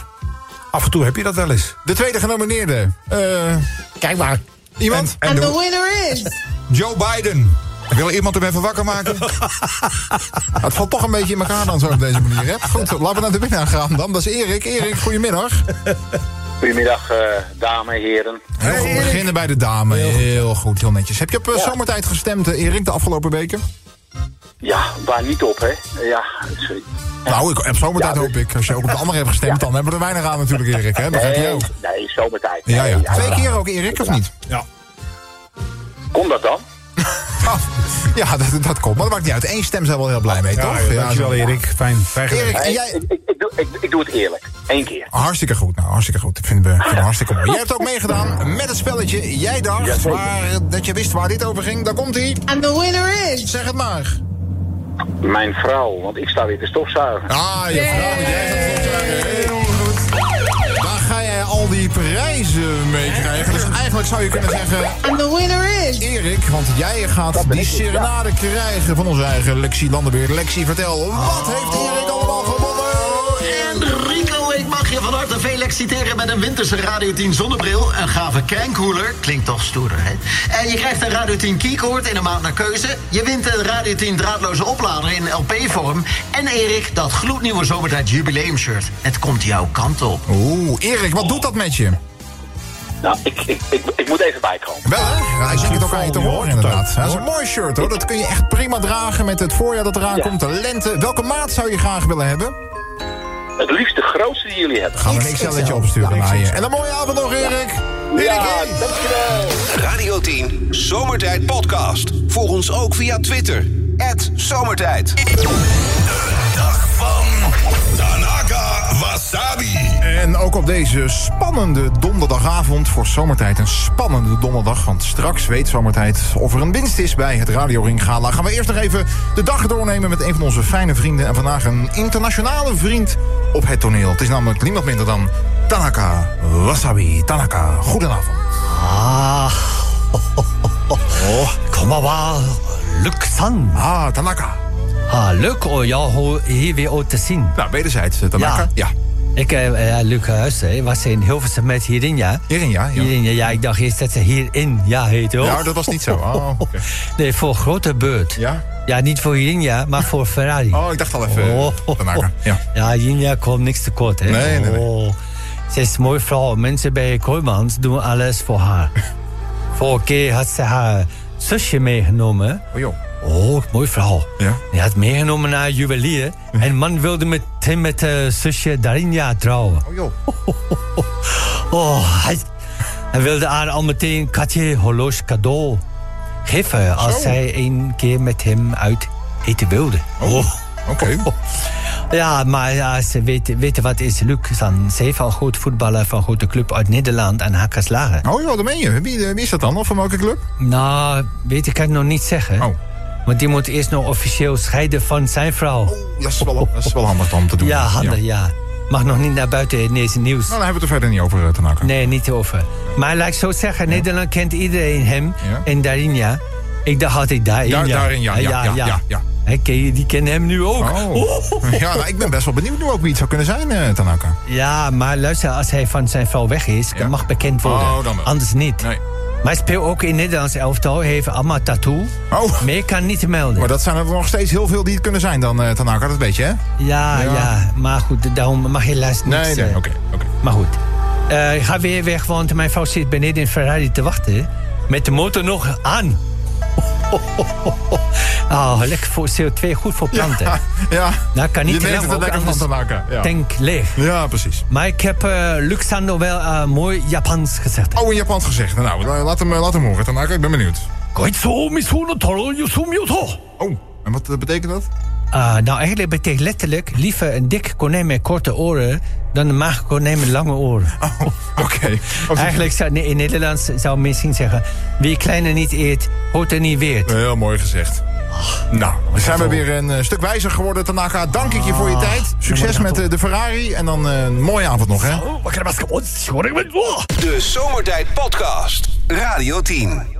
[SPEAKER 2] Af en toe heb je dat wel eens.
[SPEAKER 5] De tweede genomineerde. Eh,
[SPEAKER 6] Kijk maar.
[SPEAKER 5] iemand?
[SPEAKER 7] En
[SPEAKER 10] And the
[SPEAKER 7] de-
[SPEAKER 10] winner is.
[SPEAKER 7] Joe Biden. Wil iemand hem even wakker maken?
[SPEAKER 5] Nou, het valt toch een beetje in elkaar dan zo op deze manier. Hè? Goed, laten we naar de winnaar gaan dan. Dat is Erik. Erik, goedemiddag.
[SPEAKER 12] Goedemiddag, eh, dames en heren.
[SPEAKER 5] Heel goed, we beginnen bij de dame. Heel goed, heel netjes. Heb je op eh, zomertijd gestemd, eh, Erik, de afgelopen weken?
[SPEAKER 12] Ja, waar niet op, hè? Ja, sorry.
[SPEAKER 5] Nou, ik, op zomertijd
[SPEAKER 12] Ja, dus-
[SPEAKER 5] hoop ik. Als je ook op de andere hebt gestemd, dan hebben we er weinig aan natuurlijk, Erik. Hè? Dat heb je
[SPEAKER 12] Nee,
[SPEAKER 5] ook.
[SPEAKER 12] nee, zomertijd.
[SPEAKER 5] Ja, ja.
[SPEAKER 12] Nee,
[SPEAKER 5] Twee keer ook Erik, of niet?
[SPEAKER 12] Komt dat dan?
[SPEAKER 5] Ah, ja, dat, dat komt. Maar dat maakt niet uit. Eén stem zijn we wel heel blij mee, toch?
[SPEAKER 2] ja, dankjewel
[SPEAKER 5] zo.
[SPEAKER 2] Erik. Fijn. Fijn gedaan.
[SPEAKER 5] Erik, en
[SPEAKER 12] Nee,
[SPEAKER 5] jij...
[SPEAKER 12] ik, ik, ik, doe, ik, ik doe het eerlijk. Eén keer.
[SPEAKER 5] Hartstikke goed, nou, hartstikke goed. Ik vind het, ik vind het hartstikke mooi. Jij hebt ook meegedaan met het spelletje. Jij dacht
[SPEAKER 12] Jazeker.
[SPEAKER 5] waar, dat je wist waar dit over ging. Daar komt hij.
[SPEAKER 10] And the winner is.
[SPEAKER 5] Zeg het maar.
[SPEAKER 12] Mijn vrouw, want ik sta weer te stofzuigen.
[SPEAKER 5] Ah, je vrouw, jij gaat goed zeggen. Heel goed. Waar ga jij al die prijzen mee krijgen? Dus eigenlijk zou je kunnen zeggen...
[SPEAKER 10] And the winner is.
[SPEAKER 5] Erik, want jij gaat die serenade krijgen van onze eigen Lexi Landenbeer. Lexi, vertel, wat heeft Erik allemaal gewonnen?
[SPEAKER 11] Enrico, ik mag
[SPEAKER 13] mag je van harte veel exciteren met een winterse Radio 10 zonnebril. Een gave kernkoeler. Klinkt toch stoerder, hè? En je krijgt een Radio 10 keycord in een maand naar keuze. Je wint een Radio 10 draadloze oplader in LP-vorm. En Erik, dat gloednieuwe zomertijd jubileumshirt. Het komt jouw kant op.
[SPEAKER 5] Oeh, Erik, wat doet dat met je?
[SPEAKER 11] Nou, ik, ik, ik, ik moet even bijkomen.
[SPEAKER 5] Wel hè? Ja, ik denk het ook aan je te horen inderdaad. Dat is een mooi shirt hoor. Dat kun je echt prima dragen met het voorjaar dat eraan komt. De lente. Welke maat zou je graag willen hebben?
[SPEAKER 11] Het liefst de grootste die jullie hebben.
[SPEAKER 5] Gaan we een XL-etje opsturen naar je. En een mooie avond nog Erik. Erik, hey.
[SPEAKER 1] Radio 10 Zomertijd Podcast. Volg ons ook via Twitter. Zomertijd.
[SPEAKER 7] De dag van Tanaka Wasabi.
[SPEAKER 5] En ook op deze spannende donderdagavond voor Zomertijd. Een spannende donderdag, want straks weet Zomertijd of er een winst is bij het Radio Ring Gala. Gaan we eerst nog even de dag doornemen met een van onze fijne vrienden. En vandaag een internationale vriend op het toneel. Het is namelijk niemand minder dan Tanaka Wasabi. Tanaka, goedenavond.
[SPEAKER 14] Ah, Komawa, Luc-san.
[SPEAKER 5] Oh. Ah, Tanaka.
[SPEAKER 6] Ah, leuk om jou ho- hier weer ook te zien.
[SPEAKER 5] Nou, wederzijds, eh, Tanaka. Ja.
[SPEAKER 6] Ik, eh, eh, Luc Huis, hè, was in Hilversum met Hirinja.
[SPEAKER 5] Hirinja, ja.
[SPEAKER 6] Hirinja, ja, ik dacht eerst dat ze hierin ja heette. hoor.
[SPEAKER 5] Nou, dat was niet zo. Oh, oké.
[SPEAKER 6] Nee, voor grote beurt.
[SPEAKER 5] Ja?
[SPEAKER 6] Ja, niet voor Hirinja, maar voor Ferrari.
[SPEAKER 5] Oh, ik dacht al even, Tanaka, ja.
[SPEAKER 6] Ja, Hirinja komt niks tekort, hè.
[SPEAKER 5] Nee, nee, nee.
[SPEAKER 6] Oh. Ze is een mooie vrouw. Mensen bij Kooimans doen alles voor haar. Vorige keer had ze haar zusje meegenomen.
[SPEAKER 5] Oh, joh.
[SPEAKER 6] Oh, mooi verhaal.
[SPEAKER 5] Ja.
[SPEAKER 6] Die had meegenomen naar een juwelier. En man wilde met, met eh, zusje Darinja trouwen.
[SPEAKER 5] Oh joh.
[SPEAKER 6] Oh, hij, hij wilde haar al meteen Katje horloge cadeau geven... als
[SPEAKER 15] Zo.
[SPEAKER 6] zij een keer met hem uit eten wilde. Oh,
[SPEAKER 5] oké.
[SPEAKER 6] Ja, maar ja, ze weet, weet je wat is Luc? Dan, ze heeft al goed voetballer van een grote club uit Nederland... en Hakkerslagen.
[SPEAKER 5] Oh joh, dat meen je. Wie, eh, wie is dat dan? Of van welke club?
[SPEAKER 6] Nou, weet ik kan het nog niet zeggen. Want die moet eerst nog officieel scheiden van zijn vrouw.
[SPEAKER 5] Dat is wel, dat is wel handig om te doen.
[SPEAKER 6] Ja, handig, ja. Mag nog niet naar buiten in deze nieuws.
[SPEAKER 5] Nou, daar hebben we het er verder niet over, eh, Tanaka.
[SPEAKER 6] Nee, niet over. Maar laat ik zo zeggen, Nederland kent iedereen hem en Darinja. Ik dacht altijd Darinja.
[SPEAKER 5] Ja, Darinja, ja, ja, ja, ja.
[SPEAKER 6] Hè, ken je- die kennen hem nu ook.
[SPEAKER 5] Oh.
[SPEAKER 6] Oh.
[SPEAKER 5] *laughs* Ja, nou, ik ben best wel benieuwd nu ook wie het zou kunnen zijn, eh, Tanaka.
[SPEAKER 6] Ja, maar luister, als hij van zijn vrouw weg is, dan mag bekend worden.
[SPEAKER 5] Oh, dan wel.
[SPEAKER 6] Anders niet. Maar hij speelt ook in Nederlands elftal, hij heeft allemaal tattoo.
[SPEAKER 5] Oh.
[SPEAKER 6] Meer kan niet melden.
[SPEAKER 5] Maar dat zijn er nog steeds heel veel die het kunnen zijn dan, eh, Tanaka. Dat weet je, hè?
[SPEAKER 6] Ja,
[SPEAKER 5] Ja.
[SPEAKER 6] ja, Ah, maar goed, daarom mag je luisteren.
[SPEAKER 5] Nee,
[SPEAKER 6] niks,
[SPEAKER 5] nee,
[SPEAKER 6] eh.
[SPEAKER 5] oké,
[SPEAKER 6] Maar goed. Eh, ik ga weer weg, want mijn vrouw zit beneden in Ferrari te wachten. Met de motor nog aan. *laughs* Oh, lekker voor CO2, goed voor planten.
[SPEAKER 5] Ja, *laughs* ja.
[SPEAKER 6] Nou, kan niet
[SPEAKER 5] Je
[SPEAKER 6] te
[SPEAKER 5] neemt
[SPEAKER 6] lang,
[SPEAKER 5] het er
[SPEAKER 6] ook,
[SPEAKER 5] lekker van te
[SPEAKER 6] anders
[SPEAKER 5] maken, ja.
[SPEAKER 6] Tank leeg.
[SPEAKER 5] Ja, precies.
[SPEAKER 6] Maar ik heb eh Luxando wel eh, mooi Japans gezegd.
[SPEAKER 5] Oh, in Japan gezegd. Nou, la- laat hem, eh, laat hem horen, Tanaka. Ik ben benieuwd.
[SPEAKER 6] Goitso, misuno, toro,
[SPEAKER 5] Oh, en wat eh, betekent dat?
[SPEAKER 6] Ah, nou, eigenlijk betekent letterlijk liever een dik konijn met korte oren dan een mager konijn met lange oren.
[SPEAKER 5] Oké.
[SPEAKER 6] Eigenlijk zou nee, in Nederlands zou men misschien zeggen: wie kleiner niet eet, hoort er niet weer.
[SPEAKER 5] Heel mooi gezegd. Nou, dan zijn we Ah, weer een eh, stuk wijzer geworden, Tanaka. Dank ik je voor je tijd. Succes met eh, de Ferrari en dan eh, een mooie avond nog, hè?
[SPEAKER 1] De Zomertijd Podcast. Radio 10.